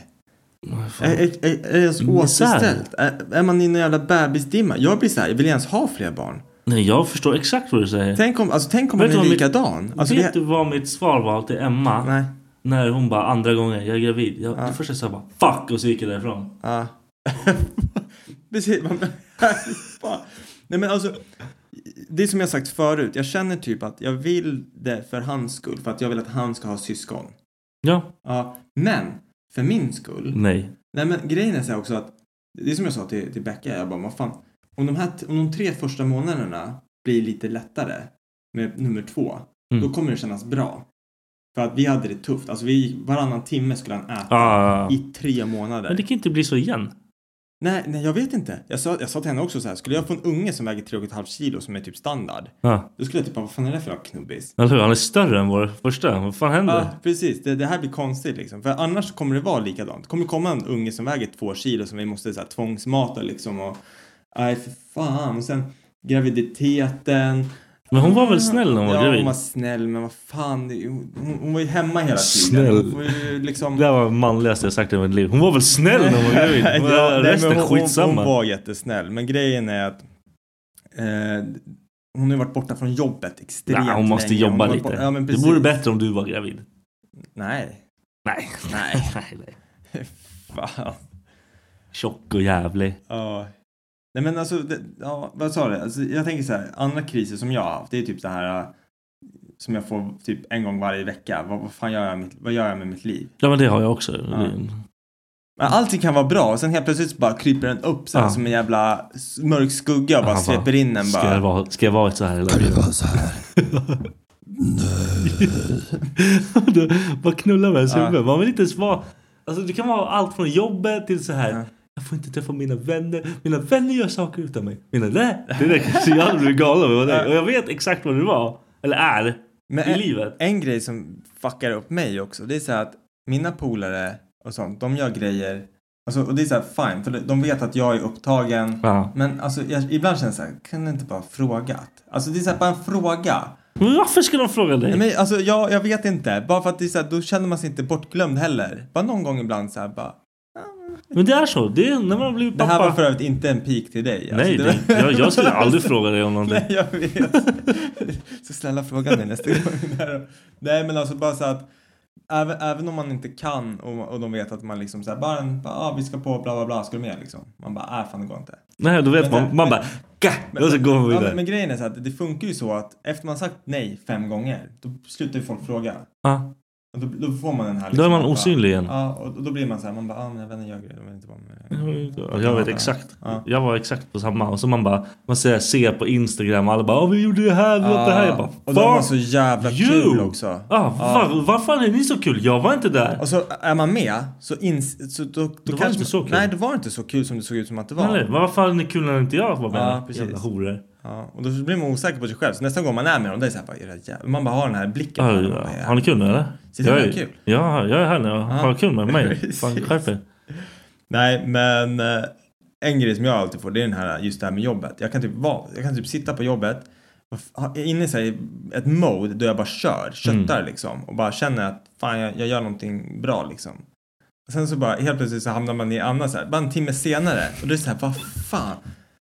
Speaker 4: Vad fan.
Speaker 5: Är, är, är, är det ens
Speaker 4: Misär.
Speaker 5: återställt? Är, är man i en jävla bebisdimma? Jag blir så här, jag vill ens ha fler barn.
Speaker 4: Nej, jag förstår exakt vad du säger.
Speaker 5: Tänk om, alltså, tänk om man
Speaker 4: Vet du
Speaker 5: är
Speaker 4: vad mitt-
Speaker 5: likadan. Alltså,
Speaker 4: Vet
Speaker 5: det,
Speaker 4: du vad mitt svar var till Emma?
Speaker 5: nej.
Speaker 4: När hon bara andra gången, jag är gravid. Jag, Det första jag sa bara fuck och så gick jag därifrån.
Speaker 5: Ja. Precis. man- Fan. Nej men alltså. Det är som jag sagt förut. Jag känner typ att jag vill det för hans skull. För att jag vill att han ska ha syskon.
Speaker 4: Ja,
Speaker 5: Ja. Men. För min skull.
Speaker 4: nej.
Speaker 5: Nej men grejen är så här också att. Det är som jag sa till, till Becka. Jag bara, vad fan. Om de, här, om de tre första månaderna blir lite lättare. Med nummer två.
Speaker 4: Mm.
Speaker 5: Då kommer det kännas bra. För att vi hade det tufft. Alltså vi, varannan timme skulle han äta.
Speaker 4: Ah.
Speaker 5: I tre månader.
Speaker 4: Men det kan inte bli så igen.
Speaker 5: Nej, nej, jag vet inte. Jag sa, jag sa till henne också så här, skulle jag få en unge som väger 3,5 kilo som är typ standard,
Speaker 4: Ja,
Speaker 5: då skulle jag typ bara, vad fan är det för jävla knubbis?
Speaker 4: eller hur? Han är större än vår första. Vad fan händer?
Speaker 5: Ja, precis. Det, det här blir konstigt liksom. För annars så kommer det vara likadant. Det kommer komma en unge som väger 2 kilo som vi måste så här, tvångsmata liksom och... Nej, för fan. Och sen graviditeten.
Speaker 4: Men hon var väl snäll när hon var
Speaker 5: ja,
Speaker 4: gravid?
Speaker 5: hon var snäll, men vad fan. det- Hon, hon var ju hemma hela tiden.
Speaker 4: Snäll.
Speaker 5: Hon var ju liksom...
Speaker 4: Det här var det manligaste jag sagt i mitt liv. Hon var väl snäll när hon var gravid?
Speaker 5: Ja, nej, men
Speaker 4: Resten
Speaker 5: hon,
Speaker 4: skitsamma.
Speaker 5: Hon, hon var jättesnäll, men grejen är att eh, hon har ju varit borta från jobbet extremt
Speaker 4: Nej, hon måste
Speaker 5: länge.
Speaker 4: jobba
Speaker 5: har varit
Speaker 4: lite.
Speaker 5: borta- Ja, men
Speaker 4: det
Speaker 5: precis.
Speaker 4: vore bättre om du var gravid.
Speaker 5: Nej,
Speaker 4: Nej.
Speaker 5: Nej.
Speaker 4: nej.
Speaker 5: fan.
Speaker 4: Tjock och jävlig.
Speaker 5: Ja. Nej men alltså, det, ja, vad sa du? Alltså, jag tänker så här, andra kriser som jag har haft, det är typ så här eh, som jag får typ en gång varje vecka. Vad, vad fan gör jag, med, vad gör jag med mitt liv?
Speaker 4: Ja men det har jag också.
Speaker 5: Men allting kan vara bra och sen helt plötsligt så bara kryper den upp så här,
Speaker 4: Mm. Ja.
Speaker 5: som en jävla s- mörk skugga och bara
Speaker 4: Han bara,
Speaker 5: sveper in den
Speaker 4: Ska jag
Speaker 5: bara.
Speaker 4: vara, ska jag vara så här hela tiden?
Speaker 7: så här.
Speaker 4: Du, Bara knulla med ens huvud. Man vill inte ens vara... Alltså det kan vara allt från jobbet till så här. Jag får inte träffa mina vänner. Mina vänner gör saker utan mig. Mina nej. Det där kanske jag hade blivit galen med. det. Och jag vet exakt vad du var. Eller är.
Speaker 5: Men
Speaker 4: I
Speaker 5: en,
Speaker 4: livet.
Speaker 5: en grej som fuckar upp mig också, det är så här att mina polare och sånt, de gör grejer, alltså, och det är så här fine, för de vet att jag är upptagen.
Speaker 4: Ja.
Speaker 5: Men alltså, jag, ibland känns det så här, kan du inte bara fråga? Alltså det är så här, bara en fråga.
Speaker 4: Men varför ska de fråga dig?
Speaker 5: Nej, men alltså jag, jag vet inte, bara för att det är så här, då känner man sig inte bortglömd heller. Bara någon gång ibland så här bara,
Speaker 4: Men det är så. Det är när man blir pappa.
Speaker 5: det här var för övrigt inte en pik till dig. Alltså,
Speaker 4: Nej,
Speaker 5: det
Speaker 4: det, jag, jag skulle aldrig fråga dig om någonting.
Speaker 5: Nej, jag vet. så snälla fråga mig nästa gång. Där. Nej, men alltså bara så att även, även om man inte kan och, och de vet att man liksom så här, bara, en, bara ah, vi ska på bla bla bla, ska du med liksom? Man bara, äh fan det går inte.
Speaker 4: Nej, då vet
Speaker 5: Men-
Speaker 4: man. Man bara... Gah! Och så går man
Speaker 5: Ja,
Speaker 4: vidare.
Speaker 5: men, men grejen är så att det funkar ju så att efter man sagt nej fem gånger, då slutar ju folk fråga.
Speaker 4: Ja.
Speaker 5: Och då, då får man den här liksom
Speaker 4: Då är man
Speaker 5: bara-
Speaker 4: osynlig igen.
Speaker 5: Ja, och, och då blir man så här, man bara, ah, mina vänner gör grejer, de vill inte vara med.
Speaker 4: Jag vet
Speaker 5: Ja.
Speaker 4: exakt.
Speaker 5: Ja.
Speaker 4: Jag var exakt på samma. Och så man bara, man ser, ser på Instagram och alla bara "Åh, vi gjorde det här, vi gjorde det här. Jag bara
Speaker 5: Ah. och de var så
Speaker 4: "Fuck
Speaker 5: jävla kul också.
Speaker 4: Ah, Var, varför är ni så kul? Jag var inte där.
Speaker 5: Och så är man med så, ins- så då, då,
Speaker 4: det
Speaker 5: kanske
Speaker 4: inte så kul.
Speaker 5: Nej, det var inte så kul som det såg ut som att det var.
Speaker 4: Eller, varför är ni kul när inte jag var med?
Speaker 5: Ja, precis.
Speaker 4: Jävla horor.
Speaker 5: Ja, och då blir man osäker på sig själv. Så nästa gång man är med dem, det är så här, bara, "Era jävla-" man bara har den här blicken.
Speaker 4: Ah,
Speaker 5: på dem.
Speaker 4: ja.
Speaker 5: Bara,
Speaker 4: Har ni kul nu eller?
Speaker 5: Sitter ni
Speaker 4: Jag
Speaker 5: och
Speaker 4: är-
Speaker 5: har kul? Ah.
Speaker 4: Ja, jag är här nu. Har ni kul med mig?
Speaker 5: precis.
Speaker 4: Fan, skärp er.
Speaker 5: Nej, men eh, en grej som jag alltid får, det är den här, just det här med jobbet. Jag kan typ, vara, jag kan typ sitta på jobbet ha- inne i så här, ett mode då jag bara
Speaker 4: Mm.
Speaker 5: kör, köttar liksom och bara känner att fan jag, jag gör någonting bra liksom. Och sen så bara helt plötsligt så hamnar man i annat så här, bara en timme senare och då är det så här, vad fan,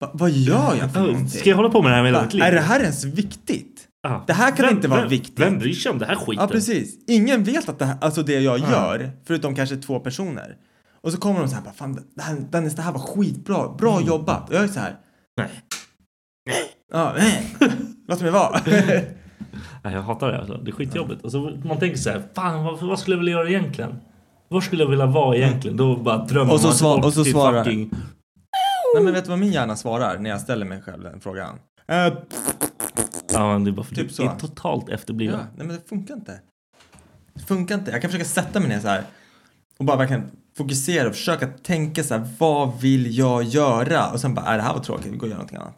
Speaker 5: Va, vad gör jag för någonting?
Speaker 4: Ah, Ska jag hålla på med det här med hela
Speaker 5: Bara,
Speaker 4: mitt liv?
Speaker 5: Är det här ens viktigt?
Speaker 4: Ja.
Speaker 5: Det här kan
Speaker 4: Vem-
Speaker 5: inte vara
Speaker 4: vem,
Speaker 5: viktigt.
Speaker 4: Vem bryr sig om det här skiten?
Speaker 5: Ja, precis. Ingen vet att det här, alltså det jag gör, förutom kanske två personer. Och så kommer de så här, bara, fan det här, Dennis, det här var skitbra, bra jobbat. Och jag är så här,
Speaker 4: Nej.
Speaker 5: ja, nej, låt mig vara.
Speaker 4: Nej, jag hatar det. Alltså. Det är skitjobbigt. Och så man tänker så här, fan vad, vad skulle jag vilja göra egentligen? Var skulle jag vilja vara egentligen? Då bara drömmer
Speaker 5: Och så
Speaker 4: man sig
Speaker 5: svar-
Speaker 4: bort
Speaker 5: och så
Speaker 4: till
Speaker 5: svarar-
Speaker 4: fucking...
Speaker 5: nej, men vet du vad min hjärna svarar när jag ställer mig själv den frågan? Eh,
Speaker 4: Ja, men det är bara för
Speaker 5: Typ
Speaker 4: det
Speaker 5: så.
Speaker 4: är totalt efterbliven.
Speaker 5: ja, nej, men det funkar inte. Det funkar inte. Jag kan försöka sätta mig ner så här och bara verkligen fokusera och försöka tänka så här, vad vill jag göra? Och sen bara, är det här var tråkigt, vi går och gör någonting annat.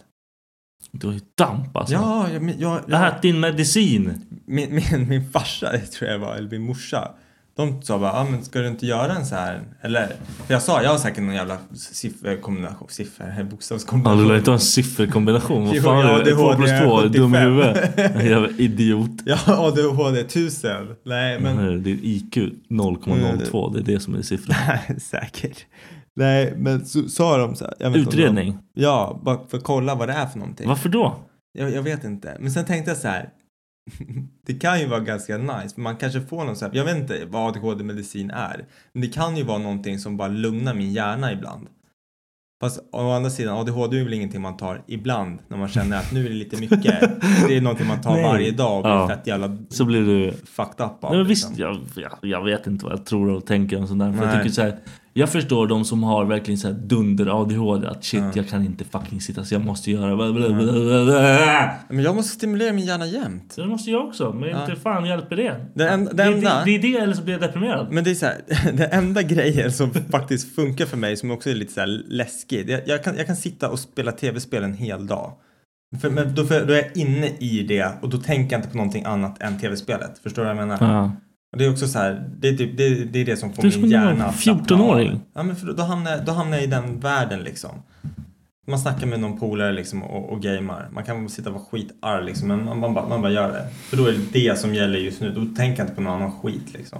Speaker 4: Du har ju damp alltså.
Speaker 5: Ja, jag, jag, jag,
Speaker 4: Jag har ätit din medicin.
Speaker 5: min, min, min farsa, det tror jag var, eller min morsa, de sa bara, ah, men ska du inte göra en så här, eller? För jag sa, jag har säkert någon jävla sifferkombination, siffror,
Speaker 4: Ja, du lär
Speaker 5: bokstavskombination.
Speaker 4: inte ha en sifferkombination. Vad
Speaker 5: Jo,
Speaker 4: fan
Speaker 5: jag har
Speaker 4: är det? 2
Speaker 5: ADHD,
Speaker 4: plus 2? Är du dum i
Speaker 5: 75?
Speaker 4: huvudet? Jävla idiot.
Speaker 5: Ja, ADHD 1000. Nej, men...
Speaker 4: Men... Din IQ 0,02. Det är det som är siffran.
Speaker 5: Nej, säkert. Nej, men så sa de så här. jag vet inte om de-
Speaker 4: Utredning.
Speaker 5: Ja, bara för att kolla vad det är för någonting.
Speaker 4: Varför då?
Speaker 5: Jag, jag vet inte. Men sen tänkte jag så här. Det kan ju vara ganska nice, men man kanske får någon så här, jag vet inte vad ADHD-medicin är, men det kan ju vara någonting som bara lugnar min hjärna ibland. Fast å andra sidan, ADHD är väl ingenting man tar ibland när man känner att nu är det lite mycket. Det är någonting man tar
Speaker 4: Nej.
Speaker 5: varje dag och blir
Speaker 4: Ja.
Speaker 5: fett jävla
Speaker 4: Så blir du...
Speaker 5: fucked up av.
Speaker 4: Nej, men
Speaker 5: liksom.
Speaker 4: visst, jag, jag, jag vet inte vad jag tror och tänker om sånt där. För jag,
Speaker 5: Nej.
Speaker 4: tycker så här, jag förstår de som har verkligen så här dunder-ADHD. Att shit, jag kan inte fucking sitta så jag måste göra... bla, bla, bla, bla, bla.
Speaker 5: Men jag måste stimulera min hjärna jämt.
Speaker 4: Så det måste jag också, men inte fan hjälper det.
Speaker 5: Det en- det
Speaker 4: det, det,
Speaker 5: enda-
Speaker 4: det är det eller så blir jag deprimerad.
Speaker 5: Men det är så här, den enda grejen som faktiskt funkar för mig som också är lite så här läskig. Jag, jag, kan, jag kan sitta och spela tv-spel en hel dag. För, men då, för, då är jag inne i det och då tänker jag inte på någonting annat än tv-spelet. Förstår du vad jag menar?
Speaker 4: Ja.
Speaker 5: Och det är också så här, det är, typ, det, är- det är det som får
Speaker 4: Du är som
Speaker 5: min
Speaker 4: en
Speaker 5: hjärna att slappna
Speaker 4: 14-åring.
Speaker 5: av. Ja, men för då, då, hamnar, jag- då hamnar jag i den världen liksom. Man snackar med någon polare liksom och, och gamer. Man kan sitta och vara skitarg liksom, men man, man, bara, man bara gör det. För då är det det som gäller just nu. Då tänker jag inte på någon annan skit liksom.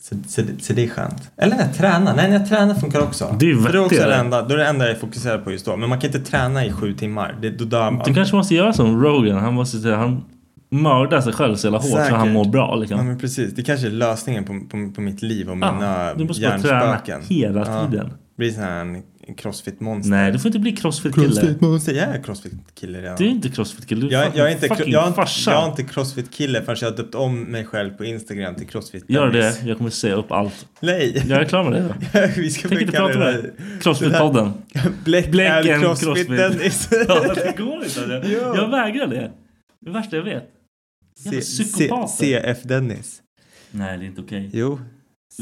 Speaker 5: Så, så, det- så det är skönt. Eller när jag tränar. Nej, när jag tränar funkar också.
Speaker 4: Det är ju
Speaker 5: För det är också
Speaker 4: vettigare.
Speaker 5: det enda, då är det enda jag fokuserar på just då. Men man kan inte träna i sju timmar. Det, då dör man.
Speaker 4: Du kanske måste göra som Rogan. Han måste säga han mördar sig själv så jävla hårt så
Speaker 5: Säkert.
Speaker 4: han mår bra. Liksom.
Speaker 5: Ja men precis, det kanske är lösningen på, på, på mitt liv och
Speaker 4: Ja,
Speaker 5: mina
Speaker 4: du måste bara träna
Speaker 5: hjärnspöken.
Speaker 4: hela tiden.
Speaker 5: Blir sån här en crossfit-monster.
Speaker 4: Nej, du får inte bli crossfit-kille.
Speaker 5: Crossfit-monster, jag är crossfit-kille redan.
Speaker 4: Du är inte crossfit-kille, du är
Speaker 5: jag, jag, är inte,
Speaker 4: fucking
Speaker 5: jag, är inte,
Speaker 4: farsa.
Speaker 5: jag är inte crossfit-kille förrän jag har döpt om mig själv på Instagram till crossfit
Speaker 4: Gör det, jag kommer säga upp allt.
Speaker 5: Nej!
Speaker 4: Jag är klar med det. då.
Speaker 5: Vi ska
Speaker 4: Tänk
Speaker 5: bli
Speaker 4: inte prata
Speaker 5: kallade
Speaker 4: med dig. Crossfit-podden.
Speaker 5: Black,
Speaker 4: Black
Speaker 5: är
Speaker 4: and
Speaker 5: crossfit,
Speaker 4: crossfit.
Speaker 5: Dennis.
Speaker 4: Ja, det går inte. Det. Jag vägrar det. Det är värsta jag vet. Jävla
Speaker 5: C-
Speaker 4: psykopater.
Speaker 5: C- CF Dennis.
Speaker 4: Nej, det är inte okej.
Speaker 5: Jo.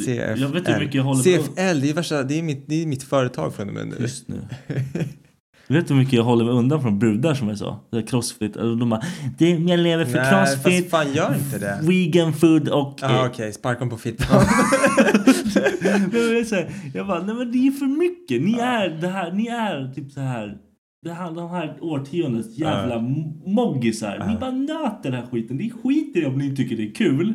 Speaker 5: CFL.
Speaker 4: Jag vet hur mycket jag håller på-
Speaker 5: CFL, det är ju värsta, det är mitt, det är mitt företag från och med nu.
Speaker 4: Just nu. Vet du hur mycket jag håller mig undan från brudar som jag sa? Det är crossfit. Och de bara, "Du, jag lever för
Speaker 5: Nej,
Speaker 4: crossfit.
Speaker 5: fast fan gör inte det.
Speaker 4: Vegan food och...
Speaker 5: Ja,
Speaker 4: eh,
Speaker 5: ah, okej. Sparka honom på fittan.
Speaker 4: Nej, men det är så här, jag bara, nej men det är för mycket. Ni är det här, ni är typ så här. Det här, de här årtiondets jävla mo- moggisar. Ni bara nöter den här skiten. Ni skiter i om ni tycker det är kul.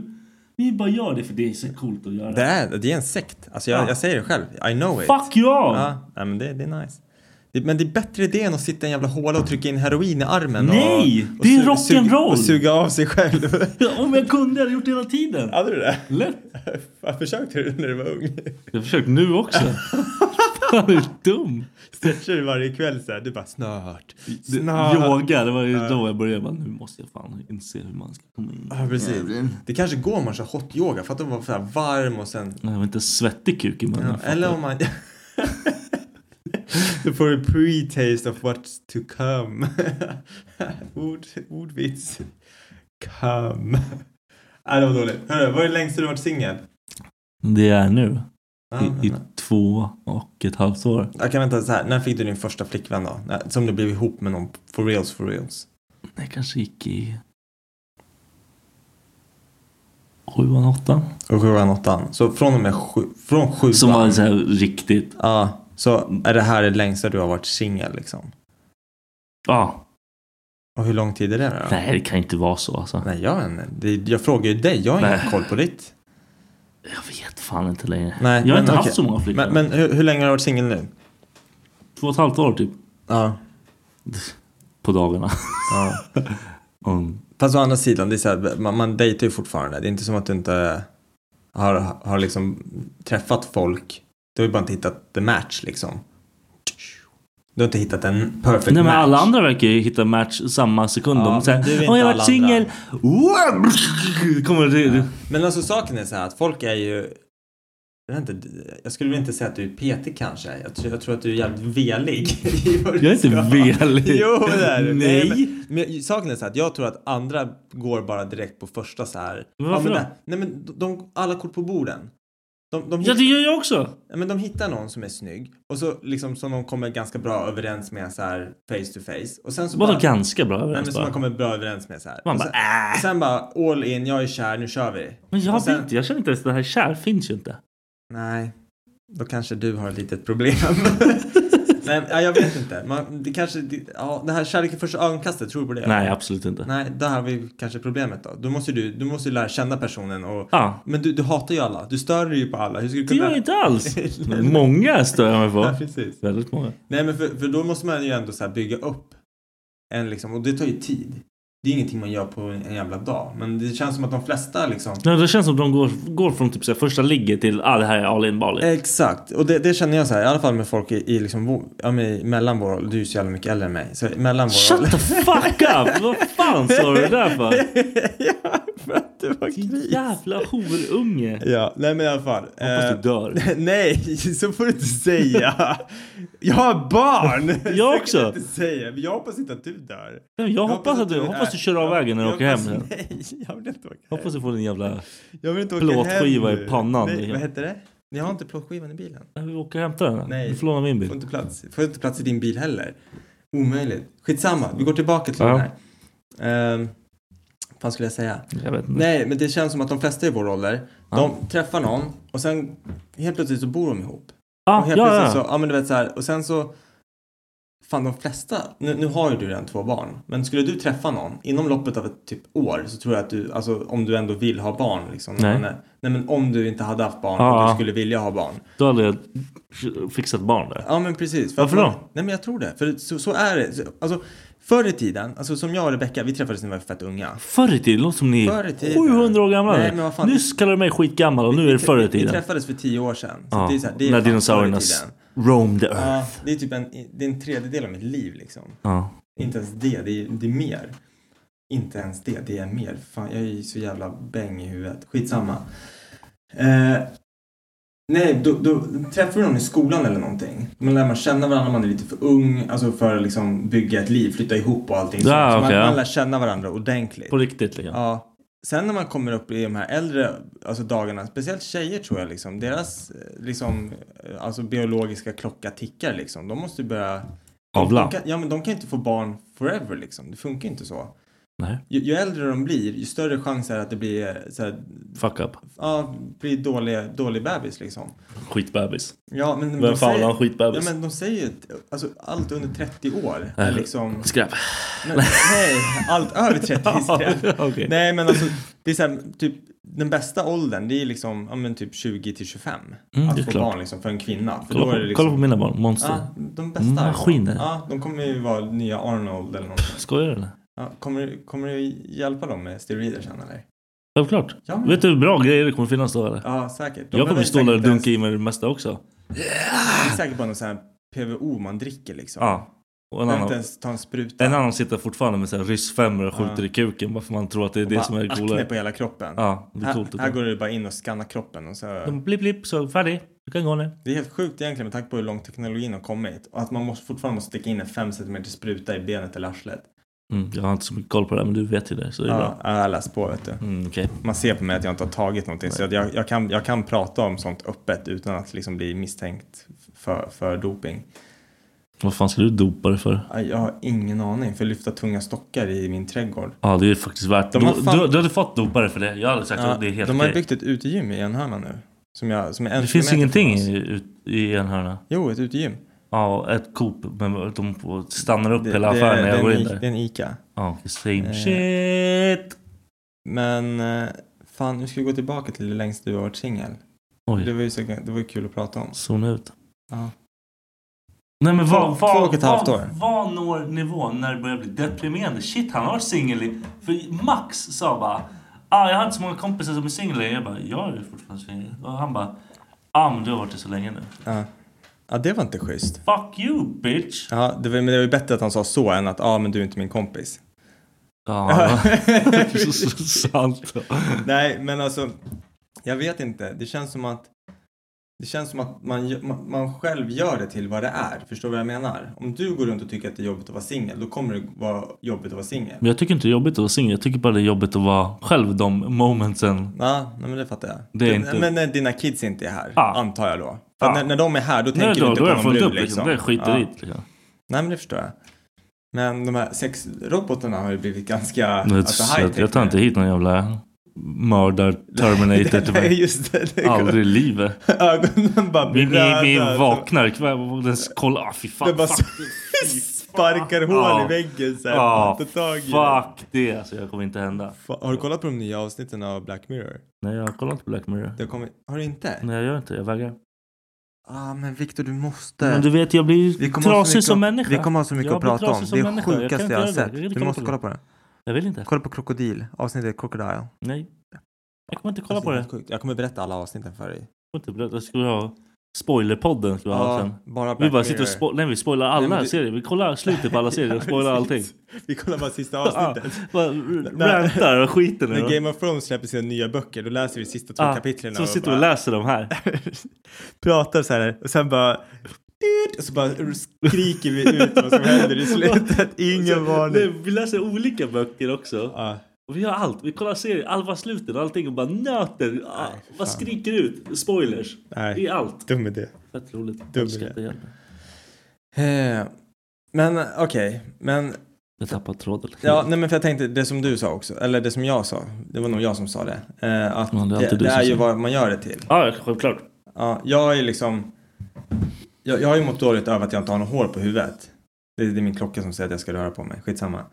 Speaker 4: Ni bara gör det för det är så coolt att göra.
Speaker 5: det, är, det är en sekt. Alltså jag,
Speaker 4: Ja.
Speaker 5: jag säger det själv. I know it.
Speaker 4: Fuck you all!
Speaker 5: Ja, nej, men det, det är nice. Det, men det är bättre det än att sitta i en jävla håla och trycka in heroin i armen.
Speaker 4: Nej,
Speaker 5: och, och
Speaker 4: det är
Speaker 5: su- su-
Speaker 4: rock'n'roll.
Speaker 5: Och suga av sig själv.
Speaker 4: Om jag kunde hade jag gjort det hela tiden.
Speaker 5: Hade du det?
Speaker 4: Lätt.
Speaker 5: Fan, Försökte du när du var ung?
Speaker 4: Jag försöker nu också. Fan, du är dum.
Speaker 5: Stretchar du varje kväll såhär? Du bara snart.
Speaker 4: Yoga, det var ju då jag började. Jag bara, nu måste jag fan inse hur man ska komma in.
Speaker 5: Ja, precis. Det kanske går om man kör hot-yoga. Fattar du vad så här varm och sen...
Speaker 4: Jag var inte svettig kuk i munnen.
Speaker 5: Ja, eller om man... Du får en pre-taste of what's to come. Ord, ordvits. Come. Nej, det var dåligt. Hörru, vad är det längsta du varit singel?
Speaker 4: Det är nu.
Speaker 5: Ja, men-
Speaker 4: I, I två och ett halvt år.
Speaker 5: Jag kan vänta så här. När fick du din första flickvän då? När- Som du blev ihop med någon for reals, for reals.
Speaker 4: Jag kanske gick i... Sjuan, åttan.
Speaker 5: Och sjuan, åttan. Så från och med sju, från sjuan.
Speaker 4: Som var så här riktigt...
Speaker 5: Ja, så är det här det längsta du har varit singel liksom?
Speaker 4: Ja.
Speaker 5: Och hur lång tid är det då?
Speaker 4: Nej, det kan inte vara så alltså.
Speaker 5: Nej, jag, vet inte. Det- jag frågar ju dig. Jag har ingen
Speaker 4: Nej.
Speaker 5: koll på ditt.
Speaker 4: Jag vet fan inte längre.
Speaker 5: Nej,
Speaker 4: jag har
Speaker 5: men
Speaker 4: inte
Speaker 5: okej.
Speaker 4: haft så många flickvänner.
Speaker 5: Men, men hur, hur länge har du varit singel nu?
Speaker 4: Två och ett halvt år typ.
Speaker 5: Ja.
Speaker 4: På dagarna.
Speaker 5: ja.
Speaker 4: Mm.
Speaker 5: Fast å andra sidan, det är så här, man, man dejtar ju fortfarande. Det är inte som att du inte har, har liksom träffat folk. Du har ju bara inte hittat the match liksom. Du har inte hittat en perfect
Speaker 4: Nej men
Speaker 5: match.
Speaker 4: alla andra verkar ju hitta match samma sekund.
Speaker 5: Ja,
Speaker 4: de
Speaker 5: men du är
Speaker 4: säger
Speaker 5: inte
Speaker 4: Åh jag har
Speaker 5: alla
Speaker 4: varit singel! Wow! Kommer det...
Speaker 5: Men alltså saken är så här att folk är ju... Jag, vet inte, jag skulle väl inte säga att du är petig kanske. Jag tror, jag tror att du är jävligt velig. i vad du
Speaker 4: Jag är inte
Speaker 5: ska.
Speaker 4: velig.
Speaker 5: Jo, det är du.
Speaker 4: Nej.
Speaker 5: men, men saken är så här att jag tror att andra går bara direkt på första så här.
Speaker 4: Men varför
Speaker 5: men
Speaker 4: då?
Speaker 5: det- Nej men de, de, alla kort på borden. De, de,
Speaker 4: Ja det gör jag också!
Speaker 5: Ja, men de hittar någon som är snygg och så liksom som de kommer ganska bra överens med så här face to face. Och sen så
Speaker 4: Vadå
Speaker 5: bara,
Speaker 4: ganska bra
Speaker 5: Nej,
Speaker 4: överens
Speaker 5: men som man
Speaker 4: bara?
Speaker 5: kommer bra överens med så här.
Speaker 4: Man
Speaker 5: och
Speaker 4: bara, äh.
Speaker 5: sen, och sen bara all in, jag är kär, nu kör vi.
Speaker 4: Men jag
Speaker 5: och sen-
Speaker 4: vet inte, jag känner inte ens det här kär finns ju inte.
Speaker 5: Nej, då kanske du har ett litet problem. Nej, ja, jag vet inte. Man, det kanske, det, ja, det här kärlek i första ögonkastet, tror du på det?
Speaker 4: Nej absolut inte.
Speaker 5: Nej, där har vi kanske problemet då. Då måste du, du måste ju lära känna personen och...
Speaker 4: Ja.
Speaker 5: Men du, du hatar ju alla. Du stör dig ju på alla. Hur ska du
Speaker 4: Det
Speaker 5: kunna...
Speaker 4: gör jag inte alls. Men många stör jag mig
Speaker 5: Ja,
Speaker 4: på.
Speaker 5: precis.
Speaker 4: Väldigt många.
Speaker 5: Nej, men för, för då måste man ju ändå så här bygga upp en liksom, och det tar ju tid. Det är ingenting man gör på en en jävla dag, men det känns som att de flesta liksom
Speaker 4: Ja, det känns som att de går, går från typ så här, första ligget till ah, det här är all in ball
Speaker 5: Eh,
Speaker 4: in.
Speaker 5: Exakt, och det, det känner jag så här, i alla fall med folk i, i liksom, vo- ja, men i- mellan vår ålder, du är så jävla mycket äldre än mig, så mellan vår
Speaker 4: Shut the fuck up! Vad fan sa du det där för?
Speaker 5: ja, för att du var
Speaker 4: Din
Speaker 5: kris.
Speaker 4: jävla horunge.
Speaker 5: Ja, nej men i alla fall. eh,
Speaker 4: Hoppas du dör.
Speaker 5: nej, så får du inte säga. Jag har barn!
Speaker 4: Jag
Speaker 5: Så
Speaker 4: också.
Speaker 5: kan du inte säga, men jag hoppas inte att du dör.
Speaker 4: Nej, Jag hoppas att du, hoppas du kör av
Speaker 5: jag-
Speaker 4: vägen när du
Speaker 5: jag
Speaker 4: åker hem.
Speaker 5: hoppas-
Speaker 4: sen.
Speaker 5: Nej, jag vill inte åka hem.
Speaker 4: Hoppas du får din jävla...
Speaker 5: Jag vill inte åka
Speaker 4: plåtskiva
Speaker 5: hem nu.
Speaker 4: i pannan. liksom.
Speaker 5: Nej, vad heter det? Jag har inte plåtskivan i bilen.
Speaker 4: Nej, Vi åker och hämtar den.
Speaker 5: Nej.
Speaker 4: Du får låna min
Speaker 5: Får
Speaker 4: bil.
Speaker 5: inte plats. Får inte plats i din bil heller. Omöjligt. Skitsamma, vi går tillbaka till
Speaker 4: Ja. Mm.
Speaker 5: den här. Ehm, vad fan skulle jag säga?
Speaker 4: Jag vet inte.
Speaker 5: Nej, men det känns som att de flesta i vår ålder, de träffar någon och sen helt plötsligt så bor de ihop.
Speaker 4: Ah,
Speaker 5: och helt
Speaker 4: ja, ja.
Speaker 5: plötsligt så, ja men du vet så här, och sen så, fan de flesta, nu, nu har ju du redan två barn, men skulle du träffa någon inom loppet av ett typ år så tror jag att du, alltså om du ändå vill ha barn liksom. när
Speaker 4: Nej.
Speaker 5: man är- nej men om du inte hade haft barn
Speaker 4: Ja,
Speaker 5: och du
Speaker 4: ja.
Speaker 5: skulle vilja ha barn.
Speaker 4: Då hade jag fixat barn där.
Speaker 5: Ja men precis. För
Speaker 4: Varför
Speaker 5: att man,
Speaker 4: då?
Speaker 5: Nej men jag tror det, för så, så är det. Så- Alltså, förr i tiden, alltså som jag och Rebecka, vi träffades när vi var fett unga.
Speaker 4: Förr i tiden låter som ni
Speaker 5: Förr i
Speaker 4: är
Speaker 5: tiden.
Speaker 4: 700 år gamla.
Speaker 5: Nej, men vad fan-
Speaker 4: Nyss kallade du mig skitgammal och nu är det förr i
Speaker 5: Vi
Speaker 4: tiden.
Speaker 5: träffades för tio år sedan. Så
Speaker 4: Ja,
Speaker 5: det är så här, det är
Speaker 4: när öh.
Speaker 5: fan förr i
Speaker 4: dinosaurierna s-
Speaker 5: tiden.
Speaker 4: roam the
Speaker 5: Ja,
Speaker 4: earth.
Speaker 5: det är typ en, det är en tredjedel av mitt liv liksom.
Speaker 4: Ja.
Speaker 5: Inte ens det, det är, det är mer. Inte ens det, det är mer. Fan, jag är ju så jävla bäng i huvudet. Skitsamma. Eh, nej, då, då träffar du någon i skolan eller någonting. Man lär man känna varandra, man är lite för ung, alltså för att liksom bygga ett liv, flytta ihop och allting. sånt.
Speaker 4: Ja,
Speaker 5: så
Speaker 4: okej,
Speaker 5: man,
Speaker 4: ja.
Speaker 5: man lär känna varandra ordentligt.
Speaker 4: På riktigt liksom.
Speaker 5: Ja. Sen när man kommer upp i de här äldre alltså dagarna, speciellt tjejer tror jag, liksom, deras eh, liksom, eh, alltså biologiska klocka tickar. Liksom. De måste ju börja...
Speaker 4: Avla.
Speaker 5: De kan, ja, men de kan ju inte få barn forever. Liksom. Det funkar ju inte så.
Speaker 4: Nej.
Speaker 5: Ju, ju äldre de blir, ju större chans är det att det blir, eh, så här,
Speaker 4: Fuck up.
Speaker 5: ja, blir dålig, dålig bebis. Liksom.
Speaker 4: Skitbebis.
Speaker 5: Ja, men
Speaker 4: Vem fan har en
Speaker 5: ja,
Speaker 4: skitbebis?
Speaker 5: men de säger ju att, alltså, allt under 30 år är
Speaker 4: Nej.
Speaker 5: liksom...
Speaker 4: Skräp.
Speaker 5: Men, nej, allt över 30 är skräp.
Speaker 4: Okej.
Speaker 5: Nej men alltså, det är så här, typ den bästa åldern det är liksom, ja men typ 20 till 25.
Speaker 4: Mm, det
Speaker 5: att
Speaker 4: är
Speaker 5: få
Speaker 4: klart.
Speaker 5: barn liksom för en kvinna. För
Speaker 4: Kolla
Speaker 5: då
Speaker 4: på,
Speaker 5: är det liksom,
Speaker 4: kolla på mina barn. Monster.
Speaker 5: Ja, de bästa. liksom.
Speaker 4: Maskiner.
Speaker 5: Ja, de kommer ju vara nya Arnold eller något.
Speaker 4: Skojar du eller?
Speaker 5: Ja, kommer, kommer du hjälpa dem med steroider sen eller?
Speaker 4: Självklart.
Speaker 5: Ja, men-
Speaker 4: Vet du hur bra grejer det kommer finnas då eller?
Speaker 5: Ja, säkert. De
Speaker 4: jag kommer
Speaker 5: behöver
Speaker 4: stå där och
Speaker 5: säkert
Speaker 4: dunka i
Speaker 5: ens-
Speaker 4: mig det mesta också.
Speaker 5: Det är säkert bara någon sån här PVO man dricker liksom.
Speaker 4: Ja. Och en
Speaker 5: Man behöver
Speaker 4: annan.
Speaker 5: inte ens ta en spruta.
Speaker 4: En annan sitter fortfarande med så här ryssfemmor och skjuter
Speaker 5: Ja.
Speaker 4: i kuken bara för man tror att det är det
Speaker 5: Bara
Speaker 4: som är det coola.
Speaker 5: Akne på hela kroppen.
Speaker 4: Ja, det är coolt.
Speaker 5: här,
Speaker 4: att-
Speaker 5: här går du bara in och skannar kroppen och så...
Speaker 4: De Blipp, blipp, så färdig. Du kan gå nu.
Speaker 5: Det är helt sjukt egentligen med tanke på hur långt teknologin har kommit och att man måste, fortfarande måste sticka in en 5 cm spruta i benet eller arslet.
Speaker 4: Mm, jag har inte så mycket koll på det här, men du vet ju det. Så det är
Speaker 5: Ja,
Speaker 4: bra.
Speaker 5: jag har läst på vet du.
Speaker 4: Mm, okej.
Speaker 5: Man ser på mig att jag inte har tagit någonting så att jag, jag, kan, jag kan prata om sånt öppet utan att liksom bli misstänkt för, för doping.
Speaker 4: Vad fan ska du dopa dig för?
Speaker 5: Aj, Jag har ingen aning för att lyfta tunga stockar i min trädgård.
Speaker 4: Ja, det är faktiskt värt.
Speaker 5: De har
Speaker 4: Du,
Speaker 5: fan-
Speaker 4: du, du hade fått dopare för det. Jag hade sagt
Speaker 5: Ja,
Speaker 4: att det är helt
Speaker 5: de har
Speaker 4: okej.
Speaker 5: ju byggt ett utegym i Enhörna nu. Som jag, som är en
Speaker 4: Det finns
Speaker 5: kilometer
Speaker 4: ingenting
Speaker 5: från oss.
Speaker 4: i, ut- i en hörna.
Speaker 5: Jo, ett utegym.
Speaker 4: Ja, ett Coop. Men de får- stannar upp
Speaker 5: Det,
Speaker 4: hela affären när
Speaker 5: det,
Speaker 4: jag går
Speaker 5: det, är
Speaker 4: in
Speaker 5: en I- det är
Speaker 4: där.
Speaker 5: en Ica.
Speaker 4: Ja, same
Speaker 5: Eh.
Speaker 4: shit.
Speaker 5: Men eh, fan, nu ska vi gå tillbaka till hur längst du har varit singel.
Speaker 4: Mm.
Speaker 5: Det
Speaker 4: Oj,
Speaker 5: var ju så, det var ju kul att prata om.
Speaker 4: zona ut.
Speaker 5: Ja.
Speaker 4: Nej men vad,
Speaker 5: Två-
Speaker 4: vad,
Speaker 5: två och ett halvt
Speaker 4: vad,
Speaker 5: år.
Speaker 4: vad når nivån när det börjar bli deprimerande? Shit, han har singel i- För Max sa bara, ah, jag har inte så många kompisar som är singlar. Jag bara, jag är fortfarande singel. Och han bara, ah men du har varit det så länge nu.
Speaker 5: Ja. ja, det var inte schysst.
Speaker 4: Fuck you bitch!
Speaker 5: Ja, det var, men det var ju bättre att han sa så än att ja, ah, men du är inte min kompis.
Speaker 4: Ja, det är så sant.
Speaker 5: Nej, men alltså, jag vet inte. Det känns som att det känns som att man, gö- man- man själv gör det till vad det är. Förstår du vad jag menar? Om du går runt och tycker att det är jobbigt att vara singel, då kommer det vara jobbigt att vara singel.
Speaker 4: Men jag tycker inte det är jobbigt att vara singel. Jag tycker bara det är jobbigt att vara själv de momentsen.
Speaker 5: Ja, nej, men det fattar jag.
Speaker 4: Det är
Speaker 5: Det-
Speaker 4: inte-
Speaker 5: Men när dina kids inte är här,
Speaker 4: Ja.
Speaker 5: antar jag då. För
Speaker 4: Ja.
Speaker 5: när, när de är här, då
Speaker 4: Nu
Speaker 5: tänker
Speaker 4: då,
Speaker 5: du inte
Speaker 4: då har
Speaker 5: på
Speaker 4: jag
Speaker 5: någon
Speaker 4: fullt
Speaker 5: brud
Speaker 4: upp liksom. Det skiter
Speaker 5: Ja.
Speaker 4: i det, liksom.
Speaker 5: Nej, men det förstår jag. Men de här sexrobotarna har ju blivit ganska... alltså,
Speaker 4: Men så att Jag tar inte hit någon jävla mördar-terminator till
Speaker 5: Nej,
Speaker 4: mig.
Speaker 5: just det. det är-
Speaker 4: Aldrig i livet.
Speaker 5: Ögonen bara alltså.
Speaker 4: Vi,
Speaker 5: blir
Speaker 4: vi, vi
Speaker 5: röda.
Speaker 4: vaknar ikväll och den kollar. Ah, fy
Speaker 5: Det
Speaker 4: fan.
Speaker 5: bara
Speaker 4: fuck.
Speaker 5: sparkar hål
Speaker 4: Ja.
Speaker 5: i väggen så här.
Speaker 4: Ja,
Speaker 5: Ta tag i det.
Speaker 4: Ah. fuck det. Alltså, jag kommer inte hända.
Speaker 5: Fa- Har du kollat på de nya avsnitten av Black Mirror?
Speaker 4: Nej, jag kollar inte på Black Mirror.
Speaker 5: Det har, kommit... har du inte?
Speaker 4: Nej, jag gör inte det. Jag vägrar.
Speaker 5: Ah, men Viktor, du måste.
Speaker 4: Men du vet, jag
Speaker 5: Vi
Speaker 4: blir
Speaker 5: kommer ha så
Speaker 4: trasig
Speaker 5: mycket-
Speaker 4: som människa.
Speaker 5: Vi kommer ha så mycket
Speaker 4: Jag
Speaker 5: att
Speaker 4: blir
Speaker 5: prata
Speaker 4: trasig
Speaker 5: om.
Speaker 4: som
Speaker 5: Det är det
Speaker 4: människa. Jag kan
Speaker 5: sjukaste
Speaker 4: inte
Speaker 5: jag har
Speaker 4: göra det.
Speaker 5: sett.
Speaker 4: Jag kan inte
Speaker 5: Du måste
Speaker 4: kolla på
Speaker 5: kolla på det.
Speaker 4: Jag vill inte.
Speaker 5: Kolla på Krokodil, avsnittet Crocodile.
Speaker 4: Nej. Jag kommer inte kolla
Speaker 5: Alltså,
Speaker 4: på det.
Speaker 5: är helt sjukt. Jag kommer berätta alla avsnitten för dig.
Speaker 4: Jag kommer inte berätta. Jag skulle ha spoilerpodden. Skulle jag ha sen.
Speaker 5: bara
Speaker 4: Vi
Speaker 5: Black
Speaker 4: bara sitter och
Speaker 5: Mirror.
Speaker 4: spo- Nej, vi spoilar alla
Speaker 5: Nej, men du-
Speaker 4: serier. Vi kollar slutet på alla serier och spoilar
Speaker 5: Ja,
Speaker 4: allting.
Speaker 5: precis. Vi kollar bara sista
Speaker 4: Ja,
Speaker 5: avsnittet.
Speaker 4: bara r- rantar och skiter nu.
Speaker 5: När Game of Thrones släpper sina nya böcker då läser vi de sista två
Speaker 4: Ja,
Speaker 5: kapitlen.
Speaker 4: Så sitter vi och läser de här.
Speaker 5: Pratar så här och sen bara... Och så bara skriker vi ut vad som händer i slutet. Ingen
Speaker 4: Nej,
Speaker 5: varning.
Speaker 4: vi läser olika böcker också.
Speaker 5: Ja,
Speaker 4: Och vi gör allt. Vi kollar serier, alla sluten och allting och bara nöter. Ah, vad skriker ut? Spoilers.
Speaker 5: Nej.
Speaker 4: I allt.
Speaker 5: dum idé.
Speaker 4: Fett roligt.
Speaker 5: Dum
Speaker 4: Älskar
Speaker 5: idé.
Speaker 4: att det hjälper.
Speaker 5: Eh, Men okej, men
Speaker 4: Jag tappar tråden.
Speaker 5: Ja, nej men för jag tänkte det som du sa också, eller det som jag sa, det var nog jag som sa det. Eh, att
Speaker 4: Ja, det är
Speaker 5: det,
Speaker 4: alltid du
Speaker 5: det,
Speaker 4: som
Speaker 5: är ju
Speaker 4: säger.
Speaker 5: vad man gör det till.
Speaker 4: Ja, självklart.
Speaker 5: Ja, jag är liksom, jag, jag har ju mått dåligt över att jag inte har något hår på huvudet. Det, är- det är min klocka som säger att jag ska röra på mig, skitsamma.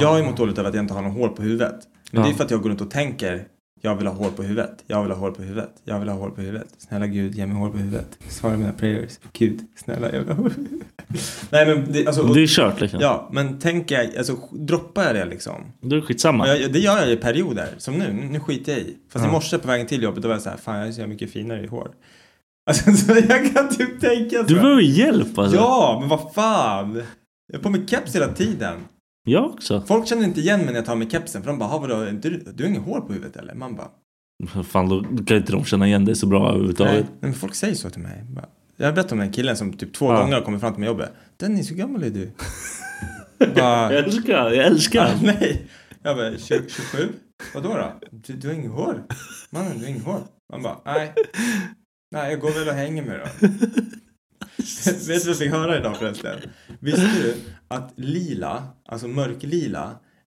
Speaker 5: Jag har ju mått dåligt över att jag inte har något hår på huvudet. Men det
Speaker 4: Ja.
Speaker 5: är för att jag går runt och tänker, jag vill ha hår på huvudet, jag vill ha hår på huvudet, jag vill ha hår på huvudet. Snälla gud, ge mig hår på huvudet. Svara mina prayers. Gud, snälla jag vill ha hår på huvudet. Nej men det, alltså, och,
Speaker 4: Det är kört liksom.
Speaker 5: ja, men tänker jag, alltså droppar jag det liksom?
Speaker 4: Det är skitsamma.
Speaker 5: Ja, jag, det gör jag i perioder. Som nu, nu, nu skiter jag i. Fast i morse på vägen till jobbet, då var jag så här, fan jag är så jävla mycket finare i hår. Alltså, så jag kan typ tänka så.
Speaker 4: Du behöver hjälp alltså.
Speaker 5: Ja, men vad fan. Jag har på mig keps hela tiden.
Speaker 4: Jag också.
Speaker 5: Folk känner inte igen mig när jag tar mig kepsen, för de bara, "Ha, vadå, är inte du, du har inget hår på huvudet eller? Man bara,
Speaker 4: Fan, då kan inte de känna igen dig så bra
Speaker 5: nej.
Speaker 4: överhuvudtaget.
Speaker 5: nej men folk säger så till mig. Bara, Jag berättade om den killen som typ två
Speaker 4: Ja.
Speaker 5: gånger har kommit fram till mig i jobbet. Dennis, hur gammal är du? bara,
Speaker 4: Jag älskar, jag älskar.
Speaker 5: Ah, nej. Jag bara, 20, 27? Vadå då? Du, du har inget hår. Mannen, du har inget hår. Man bara, nej. Nej, jag går väl och hänger mig då. Vet du vad jag fick höra idag förresten? Visste du att lila, alltså mörklila,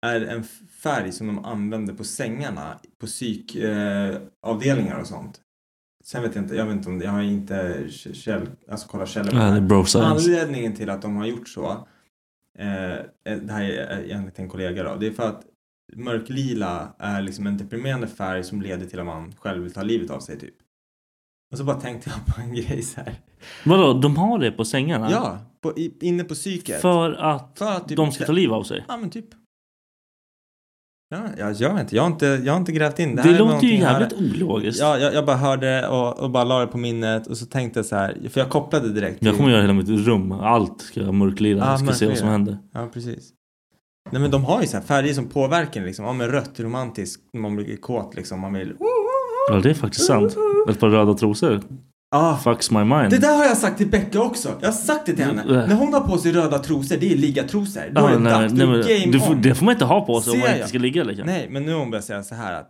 Speaker 5: är en färg som de använder på sängarna på psykavdelningar eh, avdelningar och sånt? Sen vet jag inte, jag vet inte om det, jag har inte k- käll, alltså kollat källor på
Speaker 4: Ja, det är bro science.
Speaker 5: Anledningen till att de har gjort så, eh, det här är enligt en kollega då, det är för att mörklila är liksom en deprimerande färg som leder till att man själv vill ta livet av sig typ. Och så bara tänkte jag på en grej så här.
Speaker 4: Vadå, de har det på sängarna?
Speaker 5: Ja, på, i, inne på psyket.
Speaker 4: För att
Speaker 5: För att typ-
Speaker 4: de ska ta liv av sig?
Speaker 5: Ja, men typ. Ja, jag, jag vet inte. Jag har inte, jag har inte grävt in.
Speaker 4: Det,
Speaker 5: här är
Speaker 4: låter ju
Speaker 5: någonting jag hörde.
Speaker 4: jävligt ologiskt.
Speaker 5: Ja, jag, jag bara hörde det och, och bara la det på minnet och så tänkte jag så här, för jag kopplade direkt.
Speaker 4: Jag
Speaker 5: till-
Speaker 4: kommer göra hela mitt rum, allt ska jag mörklira,
Speaker 5: Ja,
Speaker 4: jag ska se
Speaker 5: mörklira.
Speaker 4: vad som händer.
Speaker 5: Ja, precis. Nej, men de har ju så här färger som påverkar en, liksom. Ja, men rött är romantiskt när man blir kåt liksom. Man vill...
Speaker 4: Ja, det är faktiskt sant. Ett par röda trosor
Speaker 5: Ah,
Speaker 4: fucks my mind.
Speaker 5: det där har jag sagt till Becka också. Jag har sagt det till henne.
Speaker 4: Mm.
Speaker 5: När hon har på sig röda trosor, det är ligatrosor. Då
Speaker 4: Ja,
Speaker 5: är det
Speaker 4: nej,
Speaker 5: dags.
Speaker 4: nej,
Speaker 5: Då är
Speaker 4: men
Speaker 5: game
Speaker 4: du får,
Speaker 5: on.
Speaker 4: det får man inte ha på sig om
Speaker 5: Ser
Speaker 4: man inte
Speaker 5: jag?
Speaker 4: ska ligga liksom.
Speaker 5: Nej, men nu har hon börjat säga så här att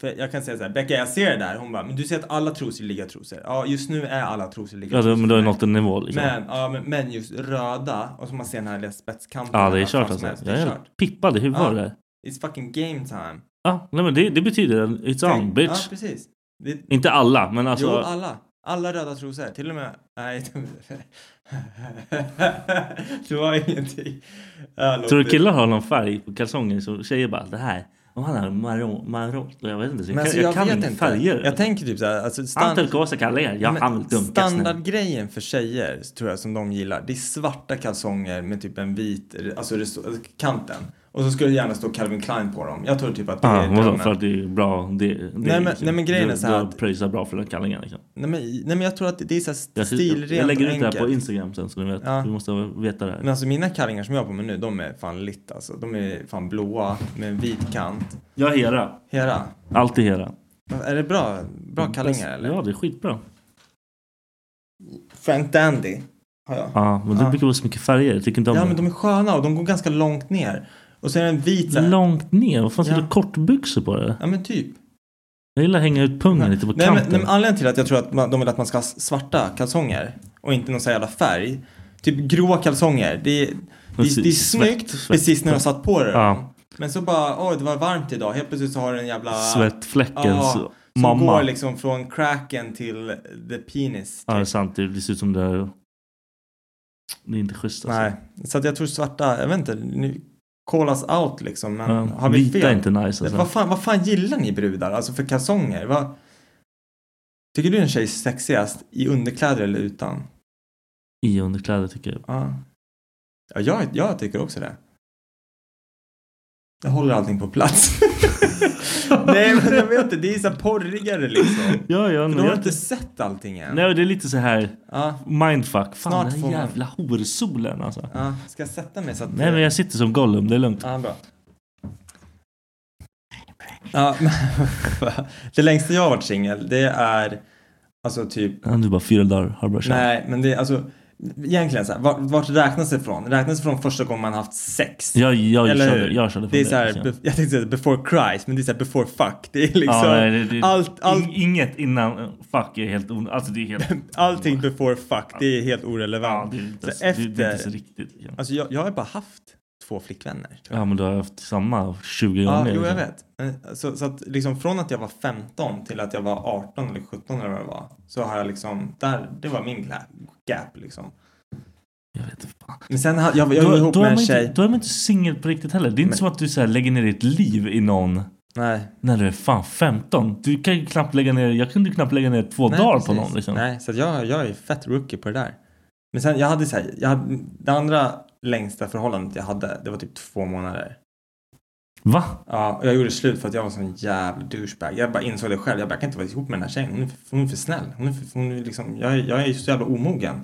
Speaker 5: för jag kan säga så här, Becka jag ser det där. Hon bara, men du ser att alla trosor är ligatrosor. Ja, just nu är alla trosor
Speaker 4: Ja,
Speaker 5: ligatrosor.
Speaker 4: då, men då är det nått en nivå liksom.
Speaker 5: men, ja, men, men just röda, och så man ser den här lilla spetskanten.
Speaker 4: ja, det är
Speaker 5: där, vad
Speaker 4: kört
Speaker 5: fan som
Speaker 4: alltså.
Speaker 5: helst,
Speaker 4: Jag
Speaker 5: det är
Speaker 4: är
Speaker 5: kört.
Speaker 4: pippad i huvudet
Speaker 5: Ja.
Speaker 4: av det där.
Speaker 5: It's fucking game time.
Speaker 4: Ja, nej men det, det betyder en- it's on
Speaker 5: Ja,
Speaker 4: bitch.
Speaker 5: precis. Det,
Speaker 4: Inte alla, men alltså.
Speaker 5: jo, alla. Alla röda trosor, till och med... Nej, det var ingenting. Jag
Speaker 4: Tror du
Speaker 5: låter-
Speaker 4: killar har någon färg på kalsonger så tjejer bara det här. Om han har maron, maron, jag vet inte. Så jag,
Speaker 5: Men alltså,
Speaker 4: kan,
Speaker 5: jag,
Speaker 4: jag kan
Speaker 5: vet
Speaker 4: inte
Speaker 5: inte.
Speaker 4: färger.
Speaker 5: Jag tänker typ så här, alltså
Speaker 4: han
Speaker 5: stan-
Speaker 4: turkosa kallar er. Jag
Speaker 5: Men
Speaker 4: han vill dunka snäll.
Speaker 5: Standardgrejen för tjejer tror jag som de gillar, det är svarta kalsonger med typ en vit, alltså res- alltså kanten. Och så skulle det gärna stå Calvin Klein på dem. Jag tror typ att det
Speaker 4: Ja,
Speaker 5: är
Speaker 4: vadå?
Speaker 5: drömmen.
Speaker 4: För att det är bra. Det, det
Speaker 5: men- nej, men grejen
Speaker 4: du,
Speaker 5: är så här
Speaker 4: Du
Speaker 5: att-
Speaker 4: pröjsar bra för den kallingen liksom.
Speaker 5: Nej men, nej men jag tror att det är så här
Speaker 4: Jag,
Speaker 5: stilrent
Speaker 4: jag lägger
Speaker 5: och
Speaker 4: ut det här på
Speaker 5: enkelt.
Speaker 4: Instagram sen så ni vet.
Speaker 5: Ja.
Speaker 4: Du måste veta det här.
Speaker 5: Men alltså mina kallingar som jag har på mig nu, de är fan lit alltså. De är fan blåa med en vit kant.
Speaker 4: Jag är Hera.
Speaker 5: Hera,
Speaker 4: Alltid Hera.
Speaker 5: är det bra, bra kallingar eller?
Speaker 4: Ja, det är skitbra.
Speaker 5: Frank Dandy har jag.
Speaker 4: Ja, men det
Speaker 5: Ja.
Speaker 4: brukar vara så mycket färger. Jag tycker inte om
Speaker 5: Ja
Speaker 4: det.
Speaker 5: men de är sköna och de går ganska långt ner. Och så är det en vit så här-
Speaker 4: Långt ner? Vad fan sitter
Speaker 5: Ja.
Speaker 4: kortbyxor på det?
Speaker 5: Ja men typ.
Speaker 4: Jag gillar att hänga ut pungen lite på
Speaker 5: Mm. Nej, men,
Speaker 4: kanten.
Speaker 5: nej, men anledningen till att jag tror att man, de vill att man ska ha s- svarta kalsonger och inte någon sån här jävla färg. Typ gråa kalsonger. Det, är- det, är- det är
Speaker 4: Precis,
Speaker 5: snyggt
Speaker 4: svett, svett.
Speaker 5: precis när du har satt på dig dem.
Speaker 4: Ja.
Speaker 5: Men så bara, oj det var varmt idag. Helt plötsligt så har du en jävla...
Speaker 4: Svettfläckens
Speaker 5: Ja, som
Speaker 4: mamma.
Speaker 5: går liksom från cracken till the penis.
Speaker 4: Ja, det är
Speaker 5: typ.
Speaker 4: sant. Det det ser ut som det är... Det är inte schysst alltså.
Speaker 5: Nej, så att jag tror svarta, jag vet inte, nu call us out liksom. Men
Speaker 4: Ja,
Speaker 5: har vi
Speaker 4: vita
Speaker 5: fel?
Speaker 4: är inte nice alltså.
Speaker 5: Vad, fan, vad fan gillar ni brudar? Alltså för kalsonger? Vad... Tycker du en tjej är sexigast i underkläder eller utan?
Speaker 4: I underkläder tycker jag.
Speaker 5: Ja. Ja, jag, jag tycker också det. Jag håller allting på plats. Nej, men jag vet inte. Det är så här porrigare liksom.
Speaker 4: Ja, ja.
Speaker 5: För
Speaker 4: Men
Speaker 5: de har
Speaker 4: jag...
Speaker 5: inte sett allting än.
Speaker 4: Nej, men det är lite så här
Speaker 5: Ja,
Speaker 4: mindfuck.
Speaker 5: Snart
Speaker 4: Fan, den
Speaker 5: får
Speaker 4: här
Speaker 5: man-
Speaker 4: jävla horsolen alltså.
Speaker 5: ja. Ska jag sätta mig så att...
Speaker 4: Nej, men jag sitter som Gollum. Det är lugnt.
Speaker 5: Ja, bra. Ja, men... det längsta jag har varit singel, det är alltså typ
Speaker 4: Ja, Du bara fyra dagar har bara kört.
Speaker 5: Nej, men det är alltså egentligen så här, vart, vart räknas det ifrån? Räknas det från första gången man haft sex?
Speaker 4: Jag, jag,
Speaker 5: Eller
Speaker 4: körde,
Speaker 5: hur?
Speaker 4: jag körde från
Speaker 5: det är så här,
Speaker 4: ja.
Speaker 5: be, jag tänkte säga before Christ, men det är så här before fuck. Det är liksom
Speaker 4: liksom. Ja, nej, det, det,
Speaker 5: allt, allt,
Speaker 4: in- Inget innan eh, fuck är helt onödigt. Alltså det är helt...
Speaker 5: allting before fuck. Det är helt
Speaker 4: Ja,
Speaker 5: orelevant.
Speaker 4: det är inte,
Speaker 5: så
Speaker 4: det, det är inte
Speaker 5: efter,
Speaker 4: så riktigt. liksom.
Speaker 5: alltså jag, jag har bara haft två flickvänner. Tror jag.
Speaker 4: Ja men du har haft samma 20
Speaker 5: Ja,
Speaker 4: gånger.
Speaker 5: jo, jag
Speaker 4: liksom.
Speaker 5: vet. Men, Så, så att liksom från att jag var 15 till att jag var 18 eller 17 eller vad det var, så har jag liksom, där, det var min gla- gap liksom.
Speaker 4: Jag vet inte fan.
Speaker 5: Men sen, ha- jag, jag
Speaker 4: Då-
Speaker 5: var ihop
Speaker 4: då är
Speaker 5: med en
Speaker 4: man
Speaker 5: tjej.
Speaker 4: Inte, då är man inte singel på riktigt heller. Det är inte
Speaker 5: Men-
Speaker 4: som att du så här lägger ner ditt liv i någon
Speaker 5: Nej.
Speaker 4: när du är fan 15. Du kan ju knappt lägga ner, jag kunde ju knappt lägga ner två
Speaker 5: Nej,
Speaker 4: dagar på
Speaker 5: precis.
Speaker 4: någon liksom.
Speaker 5: Nej, så att jag, jag är fett rookie på det där. Men sen, jag hade så här, jag hade, det andra längsta förhållandet jag hade, det var typ två månader.
Speaker 4: Va?
Speaker 5: Ja, och jag gjorde slut för att jag var sån jävla douchebag. Jag bara insåg det själv, jag bara, jag kan inte vara ihop med den här tjejen, hon är för, hon är för snäll. Hon är för, hon är liksom, jag, är- jag är ju så jävla omogen.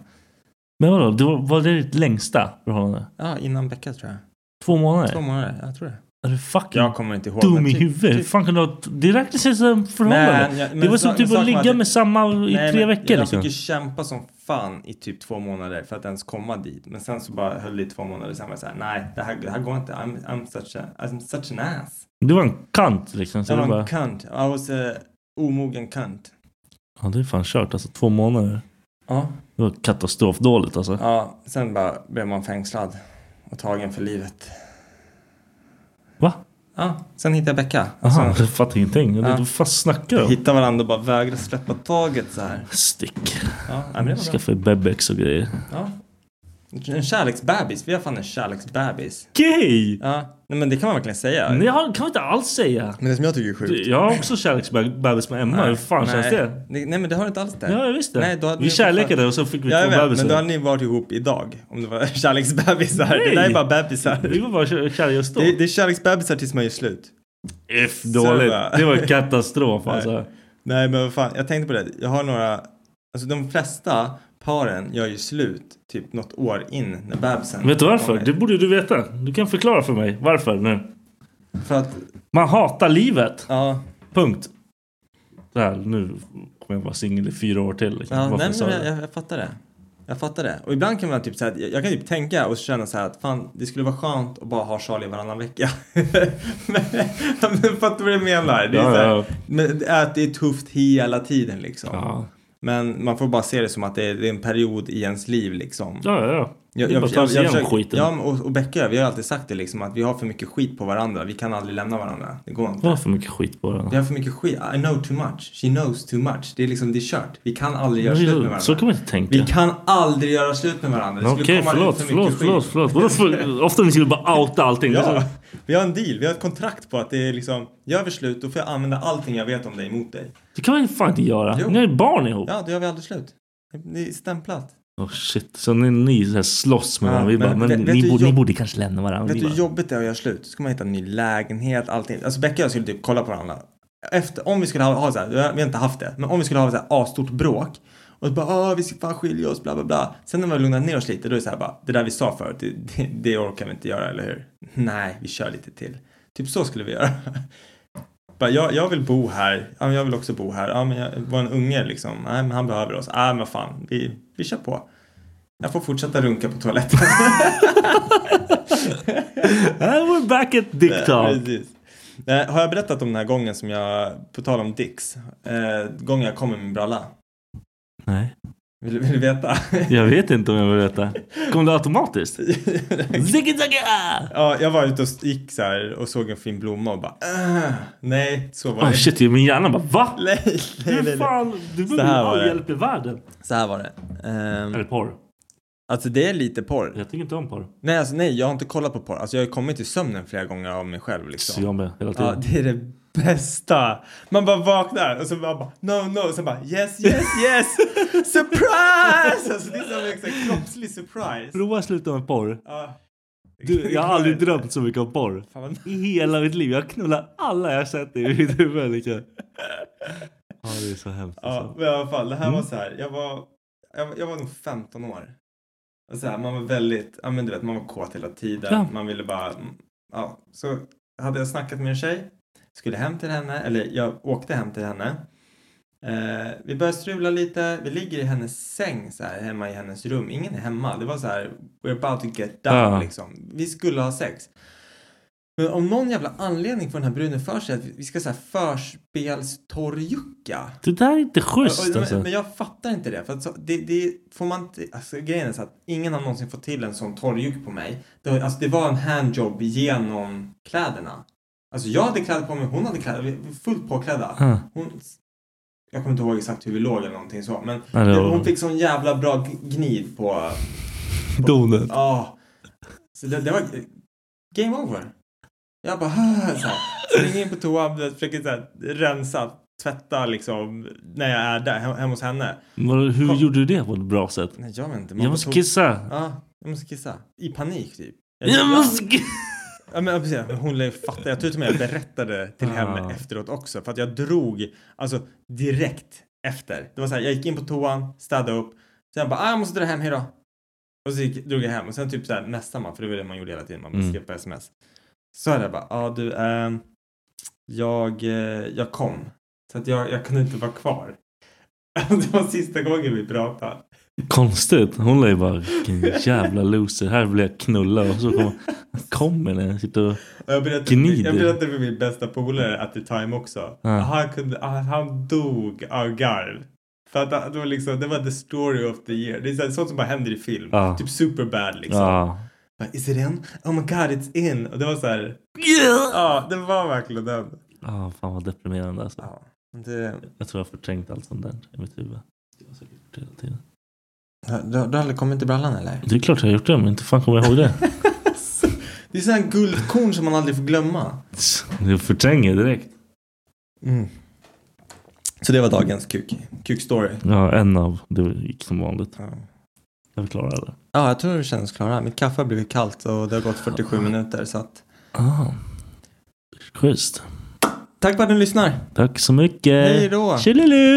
Speaker 4: Men vadå? Det var, var det ditt längsta förhållande?
Speaker 5: Ja, innan Becka tror jag.
Speaker 4: Två månader?
Speaker 5: Två månader, jag tror det.
Speaker 4: Är du fucking
Speaker 5: Jag kommer inte ihåg.
Speaker 4: dum
Speaker 5: men
Speaker 4: i
Speaker 5: typ-
Speaker 4: huvudet? Hur
Speaker 5: typ-
Speaker 4: fan kan du ha... Det räknas inte som förhållande.
Speaker 5: Nej, jag- men
Speaker 4: det var
Speaker 5: sa-
Speaker 4: som typ
Speaker 5: saken
Speaker 4: att
Speaker 5: var
Speaker 4: ligga med samma i
Speaker 5: Nej,
Speaker 4: tre
Speaker 5: men
Speaker 4: veckor
Speaker 5: Jag
Speaker 4: liksom.
Speaker 5: fick ju kämpa som fan i typ två månader för att ens komma dit. Men sen så bara höll det i två månader. Sen var jag såhär, nej det här, det här går inte. I'm, I'm, such a, I'm such an ass.
Speaker 4: Du var en kant liksom. Så
Speaker 5: Jag
Speaker 4: det
Speaker 5: var
Speaker 4: bara...
Speaker 5: en cunt. I was a omogen cunt.
Speaker 4: Ja det är fan kört alltså. Två månader.
Speaker 5: Ja.
Speaker 4: Det var katastrofdåligt alltså.
Speaker 5: ja. Sen bara blev man fängslad och tagen för livet.
Speaker 4: Va?
Speaker 5: Ja. Sen hittade jag Becka.
Speaker 4: Jaha,
Speaker 5: Alltså,
Speaker 4: jag fattar ingenting.
Speaker 5: Ja.
Speaker 4: Ja. Vad fan snackar du om?
Speaker 5: hitta varandra och bara vägra släppa taget så här.
Speaker 4: Stick.
Speaker 5: Ja, nej, men det var bra.
Speaker 4: Skaffa Bebex och grejer.
Speaker 5: Ja. En kärleksbebis. Vi har fan en kärleksbebis.
Speaker 4: Gay!
Speaker 5: Ja. Nej men det kan man verkligen säga.
Speaker 4: Nej, jag kan inte alls säga.
Speaker 5: Men det som jag tycker är sjukt.
Speaker 4: Du, Jag har också kärleksbebis med Emma. Hur fan känns det?
Speaker 5: Nej, nej men det har inte alls det.
Speaker 4: Ja, jag visste.
Speaker 5: Nej, då hade
Speaker 4: vi
Speaker 5: ni-
Speaker 4: kärlekade och så fick vi
Speaker 5: Ja, jag
Speaker 4: två
Speaker 5: vet, men då
Speaker 4: bebisar.
Speaker 5: hade ni varit ihop idag om det var kärleksbebisar. Det där är
Speaker 4: Nej.
Speaker 5: bara bebisar.
Speaker 4: Vi var bara kär- kära just då.
Speaker 5: Det, det är kärleksbebisar tills man gör slut.
Speaker 4: F dåligt.
Speaker 5: Söva.
Speaker 4: Det var katastrof
Speaker 5: Nej.
Speaker 4: alltså.
Speaker 5: Nej men vad fan, jag tänkte på det. Jag har några, alltså de flesta paren gör ju slut typ något år in när bebisen
Speaker 4: Vet du varför?
Speaker 5: kommer.
Speaker 4: Det borde du veta. Du kan förklara för mig varför nu.
Speaker 5: För att,
Speaker 4: Man hatar livet.
Speaker 5: ja.
Speaker 4: Punkt. Så här, nu kommer jag vara singel i fyra år till. liksom.
Speaker 5: Ja,
Speaker 4: Varför
Speaker 5: nej,
Speaker 4: sa
Speaker 5: men
Speaker 4: du det?
Speaker 5: jag, jag, jag fattar det. Jag fattar det. Och ibland kan man typ så här, jag, jag kan typ tänka och känna så här att fan, det skulle vara skönt att bara ha Charlie varannan vecka. men, men fattar du vad jag menar? Det är
Speaker 4: Ja,
Speaker 5: så här,
Speaker 4: ja.
Speaker 5: Men, det är att det är tufft hela tiden liksom.
Speaker 4: Ja.
Speaker 5: Men man får bara se det som att det är, det är en period i ens liv liksom.
Speaker 4: Ja, ja, ja.
Speaker 5: Jag,
Speaker 4: Det är bara att ta sig igenom skiten.
Speaker 5: ja, men och, och Becka vi har alltid sagt det liksom att vi har för mycket skit på varandra. Vi kan aldrig lämna varandra. Det går inte.
Speaker 4: Det var för mycket skit på
Speaker 5: Vi
Speaker 4: varandra.
Speaker 5: har för mycket skit. I know too much. She knows too much. Det är liksom, det är kört. Vi kan aldrig göra slut med varandra.
Speaker 4: Så kan man inte tänka.
Speaker 5: Vi kan aldrig göra slut med varandra. Det skulle
Speaker 4: Okej,
Speaker 5: komma
Speaker 4: förlåt,
Speaker 5: ut för
Speaker 4: förlåt,
Speaker 5: mycket
Speaker 4: förlåt,
Speaker 5: skit.
Speaker 4: förlåt. Vadå för- Ofta ni skulle bara outa allting.
Speaker 5: Ja,
Speaker 4: Alltså,
Speaker 5: vi har en deal. Vi har ett kontrakt på att det är liksom, gör vi slut då får jag använda allting jag vet om dig mot dig.
Speaker 4: Det kan man ju fan inte göra.
Speaker 5: Jo.
Speaker 4: Ni har ju barn ihop.
Speaker 5: Ja, då gör vi aldrig slut. Det är stämplat.
Speaker 4: Åh shit. Så ni, ni så här slåss med
Speaker 5: Ja,
Speaker 4: varandra. Vi
Speaker 5: men
Speaker 4: bara, men
Speaker 5: vet- vet
Speaker 4: ni,
Speaker 5: du
Speaker 4: bo,
Speaker 5: jobb-
Speaker 4: ni borde kanske lämna varandra.
Speaker 5: Vet
Speaker 4: Vi
Speaker 5: du
Speaker 4: bara,
Speaker 5: hur jobbigt det är att göra slut? Så ska man hitta en ny lägenhet, allting. Alltså Becka och jag skulle typ kolla på varandra. Efter, om vi skulle ha, ha så här, vi har inte haft det, men om vi skulle ha så här asstort bråk. Och så bara, ah, vi ska fan skilja oss, bla bla bla. Sen när vi har lugnat ner oss lite, då är det så här bara, det där vi sa förut, det, det, det orkar vi inte göra, eller hur? Nej, vi kör lite till. Typ så skulle vi göra. Bara, jag, jag vill bo här, ja, men jag vill också bo här, ja, men jag var en unge liksom, nej men han behöver oss, nej men vad fan, vi, vi kör på. Jag får fortsätta runka på toaletten.
Speaker 4: "Ah, we're back at dick talk.
Speaker 5: Precis. Eh, Har jag berättat om den här gången som jag, på tal om Dicks, eh, gången jag kom med min bralla?
Speaker 4: Nej,
Speaker 5: Vill, vill du veta?
Speaker 4: jag vet inte om jag vill veta. Kom det automatiskt? Ziggy zaggy! ah!
Speaker 5: ja, jag var ute och gick så här och såg en fin blomma och bara "Ah, nej, så var
Speaker 4: Oh,
Speaker 5: det
Speaker 4: shit, min hjärna bara va?
Speaker 5: Nej, nej, nej,
Speaker 4: Hur
Speaker 5: nej.
Speaker 4: fan? Du
Speaker 5: Så
Speaker 4: behöver
Speaker 5: här var
Speaker 4: all
Speaker 5: det.
Speaker 4: hjälp i världen.
Speaker 5: Så här var det. Ehm,
Speaker 4: Eller porr.
Speaker 5: alltså det är lite porr.
Speaker 4: Jag tycker inte om porr.
Speaker 5: Nej, alltså nej, jag har inte kollat på porr. Alltså jag har ju kommit i sömnen flera gånger av mig själv liksom.
Speaker 4: Så jag med, hela
Speaker 5: Ja,
Speaker 4: tiden.
Speaker 5: det är det bästa. Man bara vaknar och så bara, bara no, no, och sen bara yes, yes, yes, surprise! Alltså det är som en sån här kroppslig surprise.
Speaker 4: Prova att sluta med porr.
Speaker 5: Ja.
Speaker 4: Du, jag har aldrig drömt så mycket om porr.
Speaker 5: Fan, vad-
Speaker 4: I hela mitt liv. Jag knullar alla jag sett i mitt huvud. Liksom. Ja, det är så hemskt.
Speaker 5: Ja,
Speaker 4: Alltså.
Speaker 5: men i alla fall, det här var så här, jag var, jag, var- jag var nog 15 år. Och så här, man var väldigt, ja men du vet, man var kåt hela tiden.
Speaker 4: Ja.
Speaker 5: Man ville bara, mm, ja. Så hade jag snackat med en tjej, skulle hem till henne, eller jag åkte hem till henne. Eh, vi började strula lite, vi ligger i hennes säng så här hemma i hennes rum. Ingen är hemma, det var så här, we're about to get down
Speaker 4: Ja.
Speaker 5: liksom. Vi skulle ha sex. Men om någon jävla anledning får den här bruden för sig att vi ska så här förspelstorrjucka.
Speaker 4: Det där är inte schysst
Speaker 5: Ja, men,
Speaker 4: alltså.
Speaker 5: men jag fattar inte det. För att så, det, det får man inte, alltså, grejen är så att ingen har någonsin fått till en sån torrjuk på mig. Det, var- alltså, det var en handjob genom kläderna. Alltså jag hade kläder på mig, hon hade kläder, vi var fullt påklädda.
Speaker 4: Ja.
Speaker 5: Hon, jag kommer inte ihåg exakt hur vi låg eller någonting så, men
Speaker 4: Nej, det var-
Speaker 5: hon fick sån jävla bra g- gnid på...
Speaker 4: Donet.
Speaker 5: Ja. Så det, det var game over. Jag bara så här, springer in på toan, du vet, försöker så här, rensa, tvätta liksom när jag är där he- hemma hos henne.
Speaker 4: Vadå, Hur
Speaker 5: Kom.
Speaker 4: gjorde du det på ett bra sätt?
Speaker 5: Nej, jag vet inte. man
Speaker 4: Jag
Speaker 5: bara
Speaker 4: måste
Speaker 5: tog-
Speaker 4: kissa.
Speaker 5: Ja, jag måste kissa. I panik typ.
Speaker 4: Jag måste ki-
Speaker 5: Ja, men, precis, hon lär ju fatta. Jag tror till och med jag berättade till
Speaker 4: Ah.
Speaker 5: henne efteråt också. För att jag drog, alltså direkt efter. Det var så här, jag gick in på toan, städade upp. Sen bara, ah, jag måste dra hem, hejdå. Och så gick, drog jag hem. Och sen typ så här messade man, för det var det man gjorde hela tiden. Man
Speaker 4: Mm.
Speaker 5: skrev på sms. Så hade jag bara, ja ah, du, ehm, jag, eh, jag kom. Så att jag, jag kunde inte vara kvar. det var sista gången vi pratade.
Speaker 4: Konstigt. Hon lär ju bara vilken jävla loser. Här vill jag knulla och så kommer kommer den. Sitter och...
Speaker 5: Och Jag berättade,
Speaker 4: Gnider.
Speaker 5: jag berättade för min bästa polare at the time också.
Speaker 4: Ja.
Speaker 5: Han, kunde, han, han dog av garv. För att han- det var liksom, det var the story of the year. Det är så här- sånt som bara händer i film.
Speaker 4: Ja.
Speaker 5: Typ superbad liksom.
Speaker 4: Ja.
Speaker 5: Bara, Is it in? Oh my god it's in! Och det var så här. Ja, det var verkligen den.
Speaker 4: Ah, fan vad deprimerande alltså.
Speaker 5: Ja. Det,
Speaker 4: Jag tror jag har förträngt allt sånt där i mitt huvud. Jag har säkert gjort det hela tiden.
Speaker 5: du, har- du har aldrig kommit till brallan eller?
Speaker 4: Det är klart jag har gjort det, men inte fan kommer jag ihåg det.
Speaker 5: Det är sådana här guldkorn som man aldrig får glömma.
Speaker 4: Jag förtränger direkt.
Speaker 5: Mm. Så det var dagens kuk. Kuk-story.
Speaker 4: Ja, en av. Det gick som vanligt.
Speaker 5: Ja.
Speaker 4: Jag förklarar det.
Speaker 5: ja, jag tror det känns klara. Mitt kaffe har blivit kallt och det har gått 47 minuter så att
Speaker 4: Ah. Schysst.
Speaker 5: Tack för att ni lyssnar.
Speaker 4: Tack så mycket.
Speaker 5: Hej då.
Speaker 4: Tjolilu!